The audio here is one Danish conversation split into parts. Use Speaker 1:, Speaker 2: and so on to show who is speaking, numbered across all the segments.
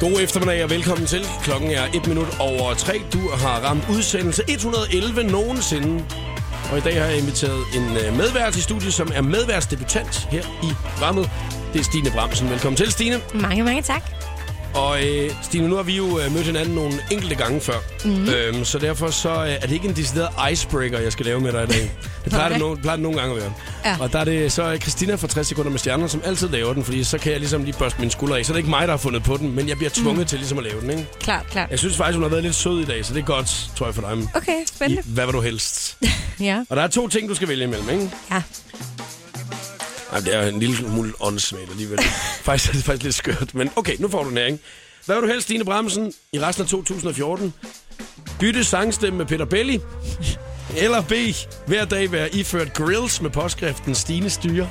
Speaker 1: God eftermiddag og velkommen til. Klokken er 1 minut over 3. Du har ramt udsendelse 111 nogensinde. Og i dag har jeg inviteret en øh, medvært i studiet, som er medværtsdebutant her i programmet. Det er Stine Bramsen. Velkommen til, Stine.
Speaker 2: Mange, mange tak.
Speaker 1: Og øh, Stine, nu har vi jo øh, mødt hinanden nogle enkelte gange før.
Speaker 2: Mhm.
Speaker 1: Mm. Øhm, så derfor så øh, er det ikke en decideret icebreaker, jeg skal lave med dig i dag. Det plejer det, no,
Speaker 2: Okay.
Speaker 1: plejer det nogle gange at være.
Speaker 2: Ja.
Speaker 1: Og der er det så øh, Christina fra 60 sekunder med stjerner, som altid laver den, fordi så kan jeg ligesom lige børste mine skuldre af. Så er det ikke mig, der har fundet på den, men jeg bliver tvunget mm. til ligesom at lave den, ikke?
Speaker 2: Klart, klart.
Speaker 1: Jeg synes faktisk, hun har været lidt sød i dag, så det er godt, tror jeg, for dig.
Speaker 2: Okay,
Speaker 1: I,
Speaker 2: spændende.
Speaker 1: hvad vil du helst?
Speaker 2: Ja.
Speaker 1: Og der er to ting, du skal vælge imellem, ikke?
Speaker 2: ja.
Speaker 1: Ej, det er en lille smule åndssvagt alligevel. faktisk er det faktisk lidt skørt, men okay, nu får du næring. Hvad vil du helst, Stine Bramsen, i resten af 2014? Bytte sangstemme med Peter Belli? Eller B. Hver dag være iført grills med påskriften Stine styre?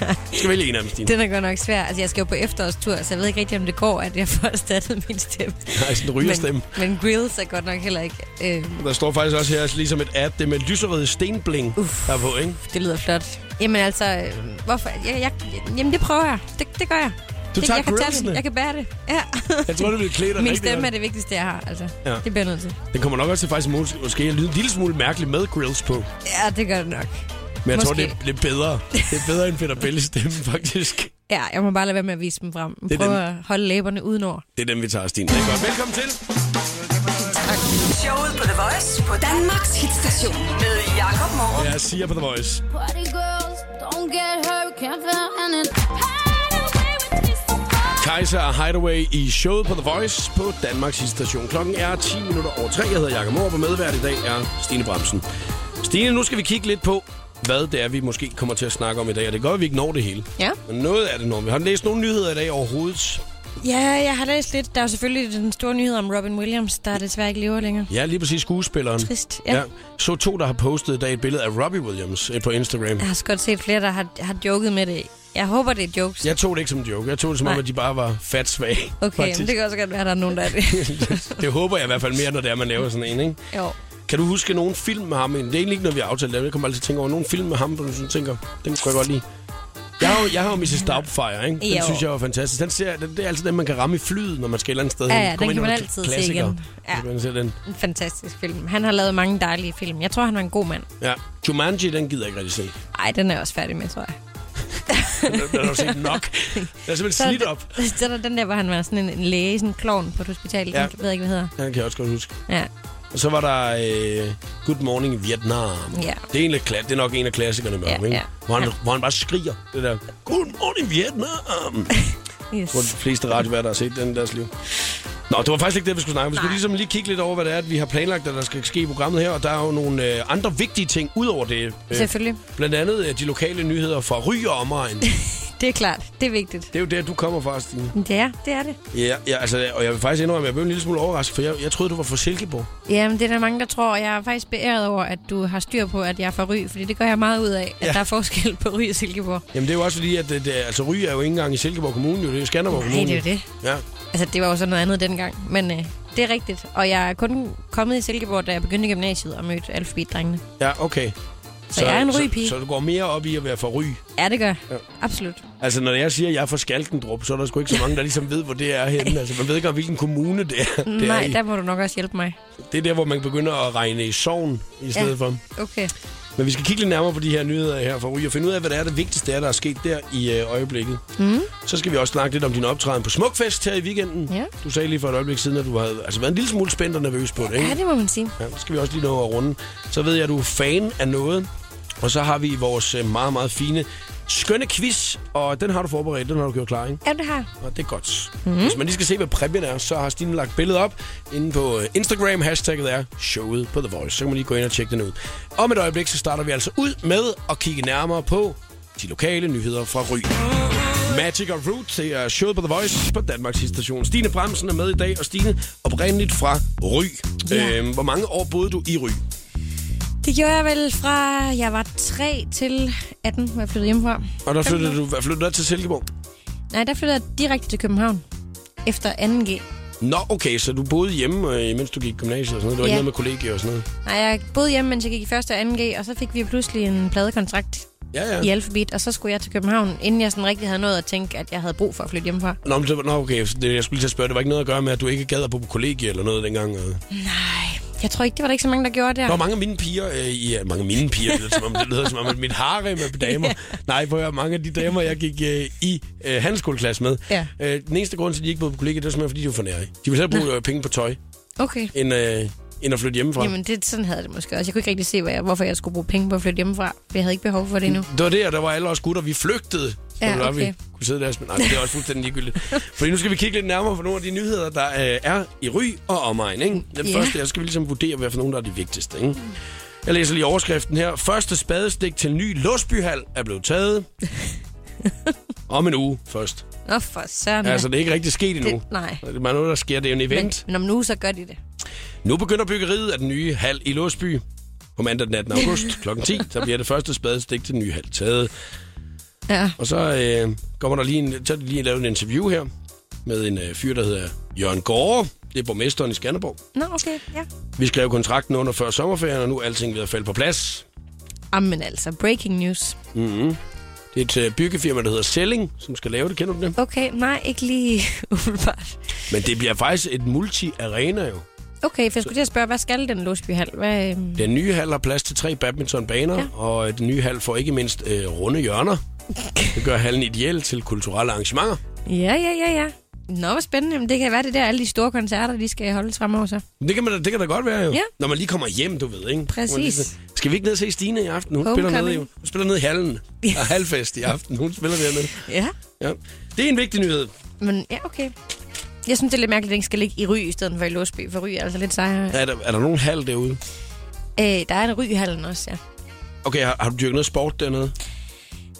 Speaker 1: Du skal vælge en af dem, Stine.
Speaker 2: Den er godt nok svær. Altså, jeg skal jo på efterårstur, så jeg ved ikke rigtig, om det går, at jeg får erstattet min stemme.
Speaker 1: Nej, sådan en rygerstemme.
Speaker 2: Men, men grills er godt nok heller ikke... Øh,
Speaker 1: Der står faktisk også her ligesom et ad, det med lyserøde stenbling Uff.
Speaker 2: Uff.
Speaker 1: der er på, ikke?
Speaker 2: det lyder flot. Jamen altså, øh, hvorfor? Jeg, jeg, jamen, det prøver jeg. Det, det gør jeg.
Speaker 1: Du
Speaker 2: det,
Speaker 1: tager
Speaker 2: jeg, kan
Speaker 1: grillsene.
Speaker 2: det. jeg kan bære det. Ja.
Speaker 1: Jeg tror, det ville klæde dig
Speaker 2: Min
Speaker 1: rigtig
Speaker 2: stemme
Speaker 1: godt.
Speaker 2: er det vigtigste, jeg har. Altså.
Speaker 1: Ja.
Speaker 2: Ja. Det bliver jeg nødt til.
Speaker 1: Den kommer nok også til faktisk mås- måske at lyde en lille smule mærkelig med grills på. Men
Speaker 2: Ja, det gør det nok.
Speaker 1: jeg måske. tror,
Speaker 2: Måske.
Speaker 1: det er, det er bedre. Det er bedre end Peter Bellis stemme, faktisk.
Speaker 2: Ja, jeg må bare lade være med at vise dem frem.
Speaker 1: er
Speaker 2: Prøv
Speaker 1: den-
Speaker 2: at holde læberne udenover.
Speaker 1: Det er den, vi tager, Stine. Det er godt. Velkommen til.
Speaker 3: Showet på The Voice på Danmarks hitstation med Jakob Morup.
Speaker 1: Jeg siger på The Voice.
Speaker 4: Party girls, don't get hurt, can't feel anything.
Speaker 1: Kaiser og Hideaway i showet på The Voice på Danmarks station. Klokken er 10 minutter over 3. Jeg hedder Jakob Morup, og medvært i dag er Stine Bramsen. Stine, nu skal vi kigge lidt på, hvad det er, vi måske kommer til at snakke om i dag. Og det gør, at vi ikke når det hele.
Speaker 2: Ja.
Speaker 1: Men noget af det når vi. Har du læst nogle nyheder i dag overhovedet?
Speaker 2: Ja, jeg har læst lidt. Der er jo selvfølgelig den store nyhed om Robin Williams, der desværre ikke lever længere.
Speaker 1: Ja, lige præcis skuespilleren.
Speaker 2: Trist, ja.
Speaker 1: Så to, der har postet i dag et billede af Robbie Williams øh, på Instagram.
Speaker 2: Jeg har også godt set flere, der har, har joket med det. Jeg håber, det er jokes.
Speaker 1: Jeg tog det ikke som en joke. Jeg tog det som om,
Speaker 2: Nej.
Speaker 1: at de bare var fat svage.
Speaker 2: okay, men det kan også godt være, at der er nogen, der er det.
Speaker 1: det... det håber jeg i hvert fald mere, når det er, man laver sådan en, ikke?
Speaker 2: jo.
Speaker 1: Kan du huske nogen film med ham? Det er egentlig ikke noget, vi har aftalt. Jeg kommer altid til at tænke over nogen film med ham, hvor du sådan tænker, den kunne jeg godt lide. Jeg har, jo, jeg har jo Mrs. Doubtfire, ikke? Den
Speaker 2: Jo.
Speaker 1: synes jeg var fantastisk. Den ser, den, det er altid den, man kan ramme i flyet, når man skal et eller andet sted
Speaker 2: Ja,
Speaker 1: hen.
Speaker 2: ja, den
Speaker 1: Kom
Speaker 2: kan
Speaker 1: ind,
Speaker 2: man
Speaker 1: og
Speaker 2: altid se
Speaker 1: klassiker.
Speaker 2: igen. Ja.
Speaker 1: Så kan man se den.
Speaker 2: En fantastisk film. Han har lavet mange dejlige film. Jeg tror, han var en god mand.
Speaker 1: Ja. Jumanji, den gider jeg ikke rigtig se.
Speaker 2: Ej, den er jeg også færdig med, tror jeg.
Speaker 1: Den den har du set nok. Den er simpelthen slidt op.
Speaker 2: Så er der den der, hvor han var sådan en, en læge, sådan en klovn på et hospital.
Speaker 1: Ja.
Speaker 2: Ja. Jeg ved ikke, hvad hedder.
Speaker 1: Den kan jeg også godt huske.
Speaker 2: Ja.
Speaker 1: Og så var der øh, Good Morning Vietnam.
Speaker 2: Ja.
Speaker 1: Det, er en af, kla- det er nok en af klassikerne med
Speaker 2: Ja,
Speaker 1: ham, ikke?
Speaker 2: ja.
Speaker 1: Hvor, han,
Speaker 2: Ja.
Speaker 1: hvor han bare skriger det der, Good Morning Vietnam.
Speaker 2: Yes.
Speaker 1: Hvor de fleste radioværter har set den i deres liv. Nå, det var faktisk ikke det, vi skulle snakke om. Vi skulle
Speaker 2: Nej.
Speaker 1: ligesom lige kigge lidt over, hvad det er, at vi har planlagt, at der skal ske i programmet her. Og der er jo nogle øh, andre vigtige ting ud over det. øh,
Speaker 2: Selvfølgelig.
Speaker 1: Blandt andet øh, de lokale nyheder fra Ry og omegn.
Speaker 2: Det er klart. Det er vigtigt.
Speaker 1: Det er jo der, du kommer fra, Stine.
Speaker 2: Ja, det er det.
Speaker 1: Ja, ja, altså, og jeg vil faktisk indrømme, at jeg blev en lille smule overrasket, for jeg, jeg troede, du var fra Silkeborg.
Speaker 2: Jamen, det er der mange, der tror, og jeg er faktisk beæret over, at du har styr på, at jeg er fra Ry, fordi det gør jeg meget ud af, at
Speaker 1: Ja.
Speaker 2: ja. der er forskel på Ry og Silkeborg.
Speaker 1: Jamen, det er jo også fordi, at det, det, altså, Ry er jo ikke engang i Silkeborg Kommune, jo. det er jo Skanderborg
Speaker 2: Nej,
Speaker 1: Kommune.
Speaker 2: det er jo det.
Speaker 1: Ja.
Speaker 2: Altså, det var jo så noget andet dengang, men øh, det er rigtigt. Og jeg er kun kommet i Silkeborg, da jeg begyndte i gymnasiet og mødte alfabetdrengene.
Speaker 1: Ja, okay.
Speaker 2: Så, jeg er en rypige.
Speaker 1: Så, så du går mere op i at være for ry.
Speaker 2: Ja, det gør jeg.
Speaker 1: Ja.
Speaker 2: Ja. Absolut.
Speaker 1: Altså, når jeg siger, at jeg er fra Skalkendrup, så er der sgu ikke så mange, der ligesom ved, hvor det er henne. Altså, man ved ikke, om hvilken kommune det er. Det, er
Speaker 2: Nej,
Speaker 1: i.
Speaker 2: der må du nok også hjælpe mig.
Speaker 1: det er der, hvor man begynder at regne i sovn i stedet ja. for.
Speaker 2: Okay.
Speaker 1: Men vi skal kigge lidt nærmere på de her nyheder her for Ry og finde ud af, hvad det er det vigtigste, er, der er sket der i øh, øjeblikket. Mm. Så skal vi også snakke lidt om din optræden på Smukfest her i weekenden.
Speaker 2: Ja.
Speaker 1: Du sagde lige for et øjeblik siden, at du havde altså, været en lille smule spændt og nervøs på det, ikke?
Speaker 2: Ja, det må man sige.
Speaker 1: Ja, det skal vi også lige nå at runde. Så ved jeg, at du er fan af noget. Og så har vi vores øh, meget, meget fine, skønne quiz. Og den har du forberedt, den har du gjort klar, ikke?
Speaker 2: Ja, det har jeg.
Speaker 1: Og det er godt. Mm-hmm. Hvis man lige skal se, hvad præmien er, så har Stine lagt billedet op inde på øh, Instagram. Hashtagget er showet på The Voice. Så kan man lige gå ind og tjekke den ud. Om et øjeblik, så starter vi altså ud med at kigge nærmere på de lokale nyheder fra Ry. Magic og Root, det er showet på The Voice på Danmarks station. Stine Bremsen er med i dag, og Stine, oprindeligt fra Ry.
Speaker 2: Ja.
Speaker 1: Øhm, hvor mange år boede du i Ry?
Speaker 2: Det gjorde jeg vel fra, jeg var 3 til 18, hvor jeg flyttede hjemmefra.
Speaker 1: Og der flyttede du, flyttede du til Silkeborg?
Speaker 2: Nej, der flyttede jeg direkte til København. Efter 2G.
Speaker 1: Nå, okay, så du boede hjemme, øh, mens du gik i gymnasiet og sådan noget. Det var ja.
Speaker 2: Ja.
Speaker 1: ikke noget med kollegier og sådan noget.
Speaker 2: Nej, jeg boede hjemme, mens jeg gik i første og 2G, og så fik vi pludselig en pladekontrakt.
Speaker 1: Ja, ja.
Speaker 2: i Alphabet, og så skulle jeg til København, inden jeg sådan rigtig havde nået at tænke, at jeg havde brug for at flytte hjemmefra.
Speaker 1: Nå, men det, var- nå, okay, så det, jeg skulle lige til at spørge, det var ikke noget at gøre med, at du ikke gad at bo på kollegie eller noget dengang? Øh.
Speaker 2: Nej, jeg tror ikke, det var der ikke så mange, der gjorde
Speaker 1: Der var
Speaker 2: der.
Speaker 1: mange af mine piger, øh, ja, mange af mine piger, det lyder som om, det lyder som om, at mit harem er på damer. Nej, for mange af de damer, jeg gik øh, i øh, handelsskoleklasse med.
Speaker 2: Ja.
Speaker 1: Øh, den eneste grund til, at de ikke boede på kollegiet, det var simpelthen, fordi de var for nære. De ville hellere bruge øh, penge på tøj,
Speaker 2: Okay.
Speaker 1: end, øh, end at flytte hjemmefra.
Speaker 2: Jamen, det, sådan havde jeg det måske også. Jeg kunne ikke rigtig se, hvad jeg, hvorfor jeg skulle bruge penge på at flytte hjemmefra. for Jeg havde ikke behov for det endnu.
Speaker 1: Det var der, der var alle os gutter, vi flygtede.
Speaker 2: Ja,
Speaker 1: Ja, okay.
Speaker 2: okay.
Speaker 1: vi kunne sidde der, og sm- nej, men det er også fuldstændig ligegyldigt. Fordi nu skal vi kigge lidt nærmere på nogle af de nyheder, der øh, er i Ry og omegn. Ikke? Den
Speaker 2: Ja.
Speaker 1: yeah. første, jeg skal vi ligesom vurdere, hvad for nogle, der er de vigtigste. Ikke? Jeg læser lige overskriften her. Første spadestik til ny Låsbyhal er blevet taget. Om en uge først.
Speaker 2: Nå, for søren.
Speaker 1: Ja. Altså, det er ikke rigtig sket endnu.
Speaker 2: Det- nej.
Speaker 1: Det er bare noget, der sker. Det er jo en event.
Speaker 2: men, men om nu, så gør de det.
Speaker 1: Nu begynder byggeriet af den nye hal i Låsby. På mandag den 18. august kl. 10, der bliver det første spadestik til den nye hal taget.
Speaker 2: Ja.
Speaker 1: Og så øh, kommer der lige en, så er der lige lavet en interview her med en øh, fyr, der hedder Jørgen Gårde. Det er borgmesteren i Skanderborg.
Speaker 2: Nå, okay. Ja.
Speaker 1: Vi skrev kontrakten under før sommerferien, og nu er alting ved at falde på plads.
Speaker 2: Jamen altså, breaking news.
Speaker 1: Det er et øh, byggefirma, der hedder Selling, som skal lave det. Kender du det?
Speaker 2: Okay, nej, ikke lige umiddelbart.
Speaker 1: Men det bliver faktisk et multi-arena jo.
Speaker 2: Okay, for jeg skulle til at spørge, hvad skal den Låsbyhal? Hvad, øhm,
Speaker 1: Den nye hal har plads til tre badmintonbaner, ja.
Speaker 2: Ja.
Speaker 1: og øh, den nye hal får ikke mindst øh, runde hjørner. Det gør hallen ideel til kulturelle arrangementer.
Speaker 2: ja, ja, ja, ja. Nå, hvor spændende. Men det kan være det der, alle de store koncerter, de skal holde fremover så.
Speaker 1: Men Det kan, man, da- det kan da godt være jo.
Speaker 2: Ja.
Speaker 1: Når man lige kommer hjem, du ved, ikke?
Speaker 2: Præcis.
Speaker 1: Hvor man lige sådan, Skal vi ikke ned og se Stine i aften? Hun spiller nede,
Speaker 2: Homecoming.
Speaker 1: jo. Hun spiller nede i hallen. Der er halvfest i aften. Hun spiller dernede.
Speaker 2: Ja.
Speaker 1: Ja. Det er en vigtig nyhed.
Speaker 2: Men ja, okay. Jeg synes, det er lidt mærkeligt, at den skal ligge i Ry i stedet for i Låsby, for Ry er altså lidt sejere.
Speaker 1: Er der, er der nogen hal derude?
Speaker 2: Øh, der er en Ryhallen også, ja.
Speaker 1: Okay, har, har du dyrket noget sport dernede?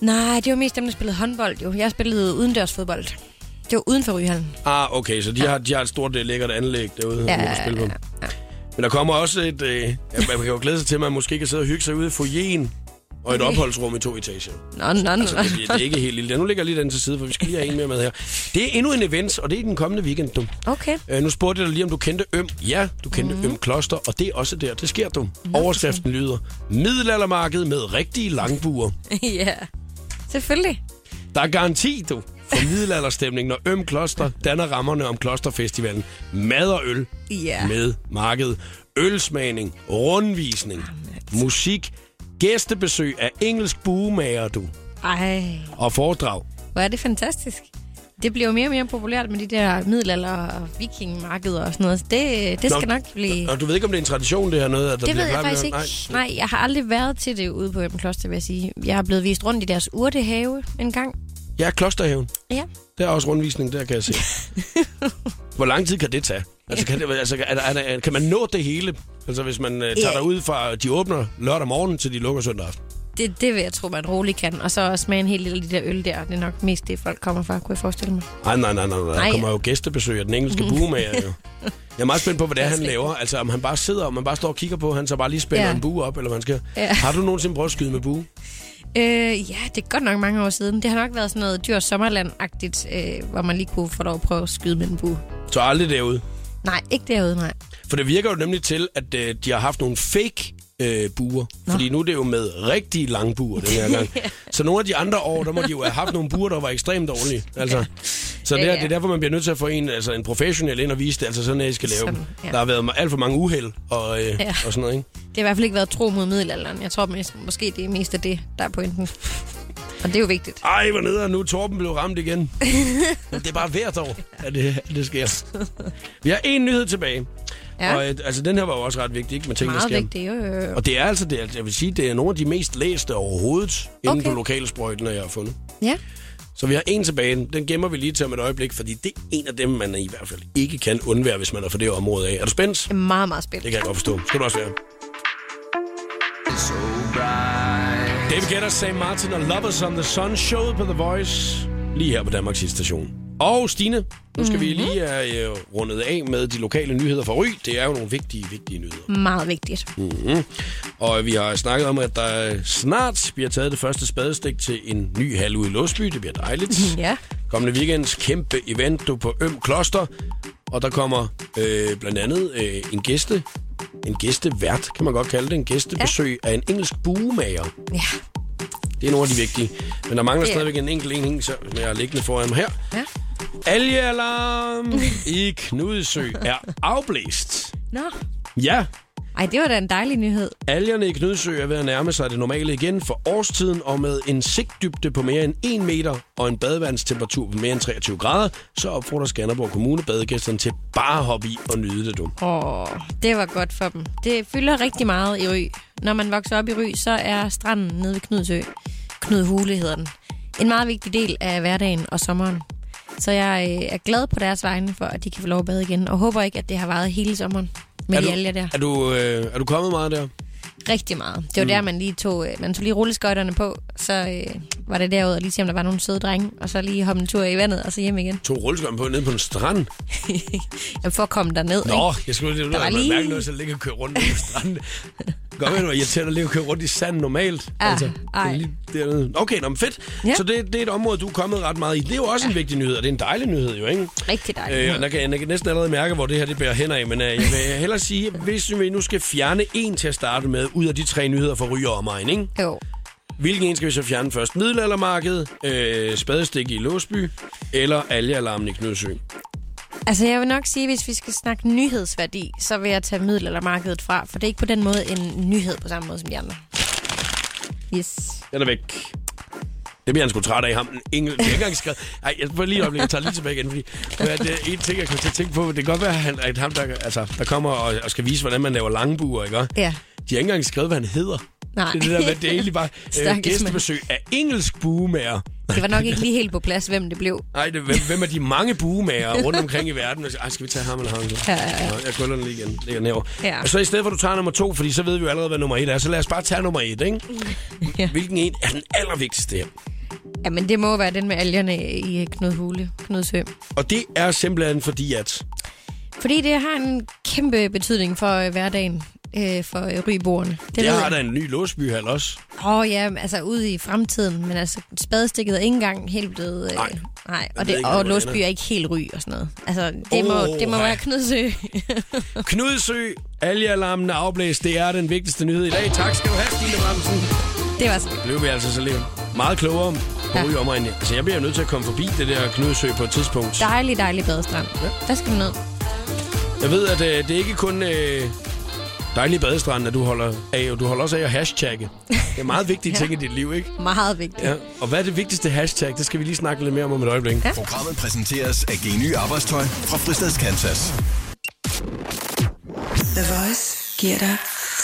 Speaker 2: Nej, det var mest dem, der spillede håndbold jo. Jeg spillede udendørs fodbold. Det var uden for Ryhallen.
Speaker 1: Ah, okay, så de, ja. har, de har et stort øh, lækkert anlæg derude, ja,
Speaker 2: Ja,
Speaker 1: hvor man spille på.
Speaker 2: ja, ja.
Speaker 1: Men der kommer også et... Øh, ja, man kan jo glæde sig til, at man måske kan sidde og hygge sig ude i foyeren og et
Speaker 2: Okay.
Speaker 1: opholdsrum i to etager.
Speaker 2: Nå, nå, nå.
Speaker 1: Altså, det, bliver- det er ikke helt lille. Nu ligger jeg lige den til side, for vi skal lige have en mere med her. Det er endnu en event, og det er i den kommende weekend, du.
Speaker 2: Okay.
Speaker 1: Øh, nu spurgte jeg dig lige, om du kendte Øm. Ja, du kendte
Speaker 2: Mhm.
Speaker 1: mm. Øm Kloster, og det er også der. Det sker du. Overskriften lyder, middelaldermarked med rigtige langbuer.
Speaker 2: ja. Selvfølgelig.
Speaker 1: Der er garanti, du, for middelalderstemning, når Øm Kloster danner rammerne om Klosterfestivalen. Mad og øl
Speaker 2: Ja.
Speaker 1: med markedet. Ølsmagning, rundvisning,
Speaker 2: altså.
Speaker 1: musik, gæstebesøg af engelsk buemager, du,
Speaker 2: Ej,
Speaker 1: og foredrag.
Speaker 2: hvor er det fantastisk. Det bliver jo mere og mere populært med de der middelalder- og vikingmarkeder og sådan noget. Så Det, det skal
Speaker 1: Nå,
Speaker 2: nok blive...
Speaker 1: Og du ved ikke, om det er en tradition, det her noget? At der bliver
Speaker 2: Det ved jeg
Speaker 1: klappet?
Speaker 2: faktisk ikke. Nej, jeg har aldrig været til det ude på Øben Kloster, vil jeg sige. Jeg er blevet vist rundt i deres urtehave en gang.
Speaker 1: Nej. Ja, Klosterhaven.
Speaker 2: Ja.
Speaker 1: Der er også rundvisning, der kan jeg se. Hvor lang tid kan det tage? Altså, kan, det, altså, er der, er der, kan man nå det hele? Altså, hvis man øh, tager
Speaker 2: Ja.
Speaker 1: dig ud fra, de åbner lørdag morgen, til de lukker søndag aften.
Speaker 2: Det, det vil jeg tro, man roligt kan. Og så også med en helt lille de der øl der. Det er nok mest det, folk kommer fra, kunne jeg forestille mig.
Speaker 1: Ej, nej, nej, nej, nej. Der
Speaker 2: Nej.
Speaker 1: kommer jo gæstebesøg af den engelske buemager, jo. Jeg er meget spændt på, hvad det er, han laver. Altså, om han bare sidder, om man bare står og kigger på, han så bare lige spænder
Speaker 2: Ja.
Speaker 1: en bue op, eller hvad han skal.
Speaker 2: Ja.
Speaker 1: Har du nogensinde prøvet at skyde med bue?
Speaker 2: Øh, ja, det er godt nok mange år siden. Det har nok været sådan noget dyr sommerland-agtigt, øh, hvor man lige kunne få lov at prøve at skyde med en bue.
Speaker 1: Så aldrig derude.
Speaker 2: Nej, ikke derude, nej.
Speaker 1: For det virker jo nemlig til, at øh, de har haft nogle fake øh, buer. Fordi nu er det jo med rigtig lange buer den her gang. Så nogle af de andre år, der må de jo have haft nogle buer, der var ekstremt dårlige. Altså, så det,
Speaker 2: Ja,
Speaker 1: er,
Speaker 2: ja.
Speaker 1: det er derfor, man bliver nødt til at få en, altså en professionel ind og vise det. Altså sådan, at I skal lave
Speaker 2: Sådan,
Speaker 1: dem.
Speaker 2: ja.
Speaker 1: Der har været alt for mange uheld og, øh,
Speaker 2: Ja.
Speaker 1: og sådan noget, ikke?
Speaker 2: Det har i hvert fald ikke været tro mod middelalderen. Jeg tror mest, måske, det er mest af det, der er pointen. Og det er jo vigtigt.
Speaker 1: Ej, hvor nede nu. er Torben blev ramt igen. Men det er bare hvert år, at det, at det sker. Vi har en nyhed tilbage.
Speaker 2: Ja.
Speaker 1: Og øh, altså, den her var jo også ret vigtig, ikke? Med ting, der
Speaker 2: Meget
Speaker 1: sker.
Speaker 2: vigtigt, jo, jo, jo.
Speaker 1: Og det er altså, det er, jeg vil sige, det er nogle af de mest læste overhovedet inden
Speaker 2: Okay.
Speaker 1: på lokalsprøjten, jeg har fundet.
Speaker 2: Ja.
Speaker 1: Så vi har en tilbage. Den gemmer vi lige til om et øjeblik, fordi det er en af dem, man i hvert fald ikke kan undvære, hvis man er for det område af. Er du spændt?
Speaker 2: Det er meget, meget
Speaker 1: Det
Speaker 2: spændende.
Speaker 1: kan jeg godt forstå. Skal du også være. David Guetta, Sam Martin og Lovers on the Sun showet på The Voice. Lige her på Danmarks station. Og Stine, nu skal mm-hmm. vi lige have øh, rundet af med de lokale nyheder fra Ry. Det er jo nogle vigtige, vigtige nyheder.
Speaker 2: Meget vigtigt.
Speaker 1: Mm. Og vi har snakket om, at der snart bliver taget det første spadestik til en ny hal ude i Låsby. Det bliver dejligt.
Speaker 2: Mm, Ja.
Speaker 1: Kommende weekends kæmpe event du på Øm Kloster. Og der kommer øh, blandt andet øh, en gæste, en gæstevært, kan man godt kalde det. En gæstebesøg ja. af en engelsk buemager.
Speaker 2: Ja.
Speaker 1: Det Det er nogle af de vigtige. Men der mangler
Speaker 2: Ja.
Speaker 1: stadigvæk en enkelt en, så jeg er liggende foran mig her.
Speaker 2: Ja.
Speaker 1: Algealarm i Knudesø er afblæst.
Speaker 2: Nå.
Speaker 1: Ja,
Speaker 2: Ej, det var da en dejlig nyhed.
Speaker 1: algerne i Knudsø er ved at nærme sig det normale igen for årstiden, og med en sigtdybde på mere end 1 meter og en badevandstemperatur på mere end 23 grader, så opfordrer Skanderborg Kommune badegæsterne til bare at hoppe i og nyde det, du.
Speaker 2: Åh, det var godt for dem. Det fylder rigtig meget i Ry. Når man vokser op i Ry, så er stranden nede ved Knudsø. Knudhule hedder den. En meget vigtig del af hverdagen og sommeren. Så jeg øh, er glad på deres vegne for, at de kan få lov at bade igen. Og håber ikke, at det har varet hele sommeren med
Speaker 1: Er
Speaker 2: de
Speaker 1: du,
Speaker 2: alger der.
Speaker 1: er, du, øh, er du kommet meget der?
Speaker 2: Rigtig meget. Det var mm. der, man lige tog, øh, man tog lige rulleskøjterne på. Så øh, var det derud og lige se, om der var nogle søde drenge. Og så lige hoppe en tur i vandet og så hjem igen.
Speaker 1: To rulleskøjten på nede på en strand?
Speaker 2: Jamen, for at komme derned.
Speaker 1: Nå, jeg skulle det
Speaker 2: Der var
Speaker 1: var
Speaker 2: lige-
Speaker 1: lige... mærke noget, så ligge og køre rundt på stranden. Godt ved, det var irriterende at ligge og køre rundt i sand normalt. Altså,
Speaker 2: Ja,
Speaker 1: det er
Speaker 2: Ah, ej.
Speaker 1: lige dernede. Okay, nå, men fedt.
Speaker 2: Ja.
Speaker 1: Så det, det, er et område, du er kommet ret meget i. Det er jo også en vigtig nyhed, og det er en dejlig nyhed jo, ikke?
Speaker 2: Rigtig dejlig
Speaker 1: Øh,
Speaker 2: nyhed.
Speaker 1: og der kan, jeg kan næsten allerede mærke, hvor det her det bærer hen af, men øh, jeg vil hellere sige, hvis vi nu skal fjerne en til at starte med, ud af de tre nyheder for ryger og omegn, ikke?
Speaker 2: Ikke? Jo.
Speaker 1: Hvilken en skal vi så fjerne først? Middelaldermarkedet, øh, spadestik i Låsby, eller algealarmen i Knudsø?
Speaker 2: Altså, jeg vil nok sige, at hvis vi skal snakke nyhedsværdi, så vil jeg tage middelaldermarkedet fra, for det er ikke på den måde en nyhed på samme måde som de andre. Yes.
Speaker 1: Den er væk. Det bliver han sgu træt af ham. den Engel, det er ikke engang skrevet. Ej, jeg får lige et øjeblik, jeg tager lige tilbage igen, fordi hvad er det en ting, jeg kommer til at tænke på, det kan godt være, at han, at ham, der, altså, der kommer og, og, skal vise, hvordan man laver langbuer, ikke? også?
Speaker 2: Ja.
Speaker 1: De har ikke engang skrevet, hvad han hedder.
Speaker 2: Nej.
Speaker 1: Det, er det, der, med, det er egentlig bare øh,
Speaker 2: Stakkels
Speaker 1: gæstebesøg af engelsk buemager.
Speaker 2: Det var nok ikke lige helt på plads, hvem det blev.
Speaker 1: Ej, det, hvem, hvem er de mange buemager rundt omkring i verden? Og så, Ej, skal vi tage ham eller ham? Så?
Speaker 2: Ja, ja, ja.
Speaker 1: Nå, Jeg kuller den lige igen. Lægger den herovre.
Speaker 2: Ja.
Speaker 1: Og så i stedet for, at du tager nummer to, fordi så ved vi jo allerede, hvad nummer et er, så lad os bare tage nummer et, ikke?
Speaker 2: Ja.
Speaker 1: Hvilken en er den allervigtigste her?
Speaker 2: Jamen, det må være den med algerne i Knudhule, Knudsø.
Speaker 1: Og det er simpelthen fordi, at
Speaker 2: Fordi det har en kæmpe betydning for øh, hverdagen øh, for øh, ryboerne. Det,
Speaker 1: det
Speaker 2: ved
Speaker 1: har
Speaker 2: jeg.
Speaker 1: der en ny låsbyhal også.
Speaker 2: Åh oh, ja, altså ude i fremtiden, men altså spadestikket er ikke engang helt blevet... Øh,
Speaker 1: Nej.
Speaker 2: nej.
Speaker 1: ved
Speaker 2: Og, det,
Speaker 1: ikke,
Speaker 2: og
Speaker 1: hvordan det
Speaker 2: Låsby
Speaker 1: ender.
Speaker 2: er ikke helt ry og sådan noget. Altså, det, må, det må
Speaker 1: Oha.
Speaker 2: være Knudsø.
Speaker 1: Knudsø, algealarmen er afblæst. Det er den vigtigste nyhed i dag. Tak skal du have, Stine Bramsen.
Speaker 2: det var så
Speaker 1: Blev vi altså så lidt meget klogere om på
Speaker 2: Ja.
Speaker 1: ja. omegnen. Altså, jeg bliver nødt til at komme forbi det der Knudsø på et tidspunkt.
Speaker 2: dejlig, dejlig badestrand. Ja. Der skal du ned.
Speaker 1: Jeg ved, at øh, det er ikke kun øh, dejlige badestrande, at du holder af, og du holder også af at hashtagge. Det er meget vigtige ting i dit liv, ikke?
Speaker 2: Meget vigtigt.
Speaker 1: Ja. Og hvad er det vigtigste hashtag? Det skal vi lige snakke lidt mere om om et øjeblik. Ja.
Speaker 5: Programmet præsenteres af Geny Arbejdstøj fra Fristads Kansas.
Speaker 3: The Voice giver dig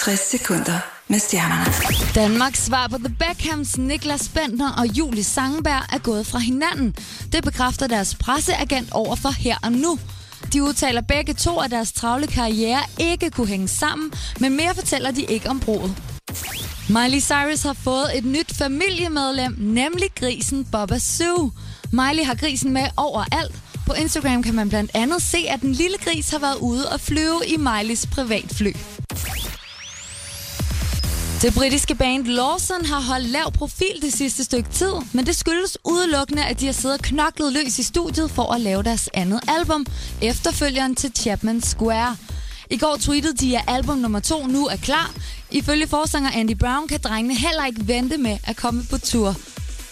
Speaker 3: 60 sekunder med stjernerne.
Speaker 6: Danmarks svar på The Beckhams, Niklas Bentner og Julie Sangeberg er gået fra hinanden. Det bekræfter deres presseagent over for her og nu. De udtaler begge to, at deres travle karriere ikke kunne hænge sammen, men mere fortæller de ikke om bruget. Miley Cyrus har fået et nyt familiemedlem, nemlig grisen Baba Sue. Miley har grisen med overalt. På Instagram kan man blandt andet se, at den lille gris har været ude og flyve i Mileys privatfly. Det britiske band Lawson har holdt lav profil det sidste stykke tid, men det skyldes udelukkende, at de har siddet og knoklet løs i studiet for at lave deres andet album, efterfølgeren til Chapman Square. I går tweetede de, at album nummer to nu er klar. Ifølge forsanger Andy Brown kan drengene heller ikke vente med at komme på tur.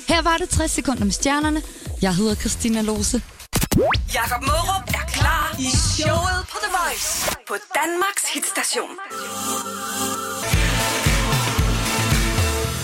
Speaker 6: Her var det 60 sekunder med stjernerne. Jeg hedder Christina Lose.
Speaker 3: Jakob Mørup er klar i showet på The Voice på Danmarks hitstation.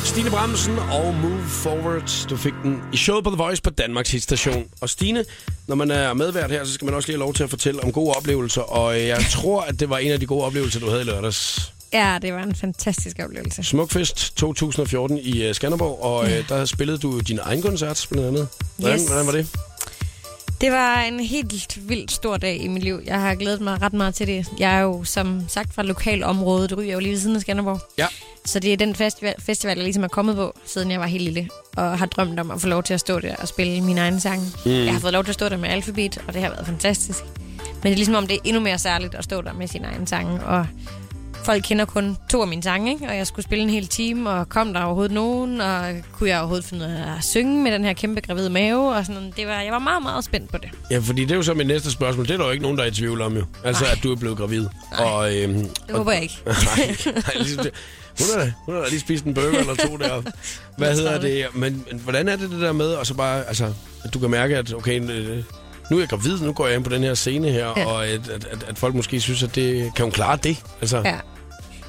Speaker 1: Stine Bramsen og Move Forward. Du fik den i showet på The Voice på Danmarks hitstation. Og Stine, når man er medvært her, så skal man også lige have lov til at fortælle om gode oplevelser. Og øh, jeg tror, at det var en af de gode oplevelser, du havde i lørdags.
Speaker 2: ja, det var en fantastisk oplevelse.
Speaker 1: Smukfest 2014 i øh, Skanderborg, og øh, der spillede du din egen koncert, blandt andet. Hvordan,
Speaker 2: Yes.
Speaker 1: hvordan var det?
Speaker 2: Det var en helt vildt stor dag i mit liv. Jeg har glædet mig ret meget til det. Jeg er jo som sagt fra lokalområdet. Ry er jo lige ved siden af Skanderborg.
Speaker 1: Ja.
Speaker 2: Så det er den festival, festival, jeg ligesom er kommet på, siden jeg var helt lille. Og har drømt om at få lov til at stå der og spille mine egne sange. Mm. Jeg har fået lov til at stå der med Alphabet, og det har været fantastisk. Men det er ligesom om, det er endnu mere særligt at stå der med sine egne sange. Og folk kender kun to af mine sange, ikke? og jeg skulle spille en hel time, og kom der overhovedet nogen, og kunne jeg overhovedet finde ud af at synge med den her kæmpe gravide mave, og sådan noget. det var, Jeg var meget, meget spændt på det.
Speaker 1: Ja, fordi det er jo så mit næste spørgsmål. Det er der jo ikke nogen, der er i tvivl om, jo. Altså,
Speaker 2: Nej.
Speaker 1: at du er blevet gravid. Og, øhm,
Speaker 2: Det håber jeg ikke.
Speaker 1: Nej, nej, ligesom det. Hun har, hun har da lige spist en burger eller to deroppe. Hvad hedder det? Men, men hvordan er det det der med, og så bare, altså, at du kan mærke, at okay, øh, nu er jeg gravid, nu går jeg ind på den her scene her, ja.
Speaker 2: Ja.
Speaker 1: og at, at, at, at, folk måske synes, at det, kan hun klare det? Altså, ja.
Speaker 2: Ja.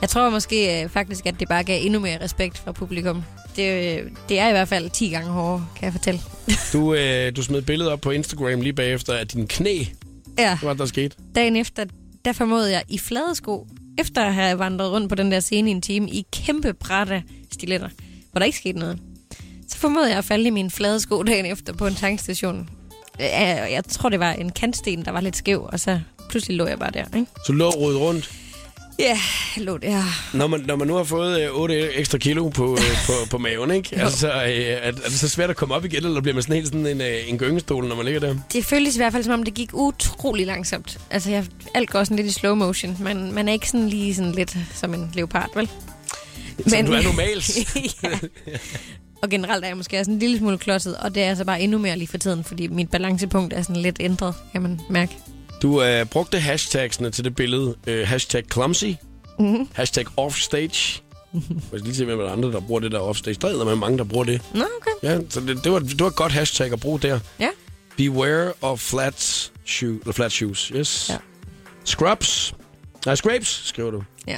Speaker 2: Jeg tror måske øh, faktisk, at det bare gav endnu mere respekt fra publikum. Det, øh, det er i hvert fald 10 gange hårdere, kan jeg fortælle.
Speaker 1: du, øh, du smed et billede op på Instagram lige bagefter af din knæ. Hvad
Speaker 2: Ja,
Speaker 1: var det, der skete?
Speaker 2: dagen efter, der formodede jeg i flade sko, efter at have vandret rundt på den der scene i en time, i kæmpe bratte stiletter, hvor der ikke skete noget. Så formodede jeg at falde i mine flade sko dagen efter på en tankstation. Øh, Jeg tror, det var en kantsten, der var lidt skæv, og så pludselig lå jeg bare der, ikke?
Speaker 1: Så lå rodet rundt.
Speaker 2: Ja, lå der.
Speaker 1: Når man, når man nu har fået øh, 8 ekstra kilo på, øh, på, på maven, ikke? Altså, øh, er, er det så svært at komme op igen, eller bliver man sådan helt sådan en, øh, en gyngestol, når man ligger der?
Speaker 2: Det føltes i hvert fald, som om det gik utrolig langsomt. Altså, jeg, alt går sådan lidt i slow motion. Man, man er ikke sådan lige sådan lidt som en leopard, vel?
Speaker 1: Som du er normalt.
Speaker 2: ja. Og generelt er jeg måske også en lille smule klodset, og det er altså bare endnu mere lige for tiden, fordi mit balancepunkt er sådan lidt ændret, kan man mærke.
Speaker 1: Du øh, brugte hashtagsene til det billede. Øh, hashtag clumsy. Mm-hmm. Hashtag offstage. Jeg skal lige se, hvem af de andre, der bruger det der offstage. Der er med mange, der bruger det.
Speaker 2: Nå, okay.
Speaker 1: Ja, så det, det, var, det var et godt hashtag at bruge der.
Speaker 2: Ja.
Speaker 1: Beware of flat, shoe, eller flat shoes. Yes.
Speaker 2: Ja.
Speaker 1: Scrubs. Nej, scrapes, skriver du.
Speaker 2: Ja.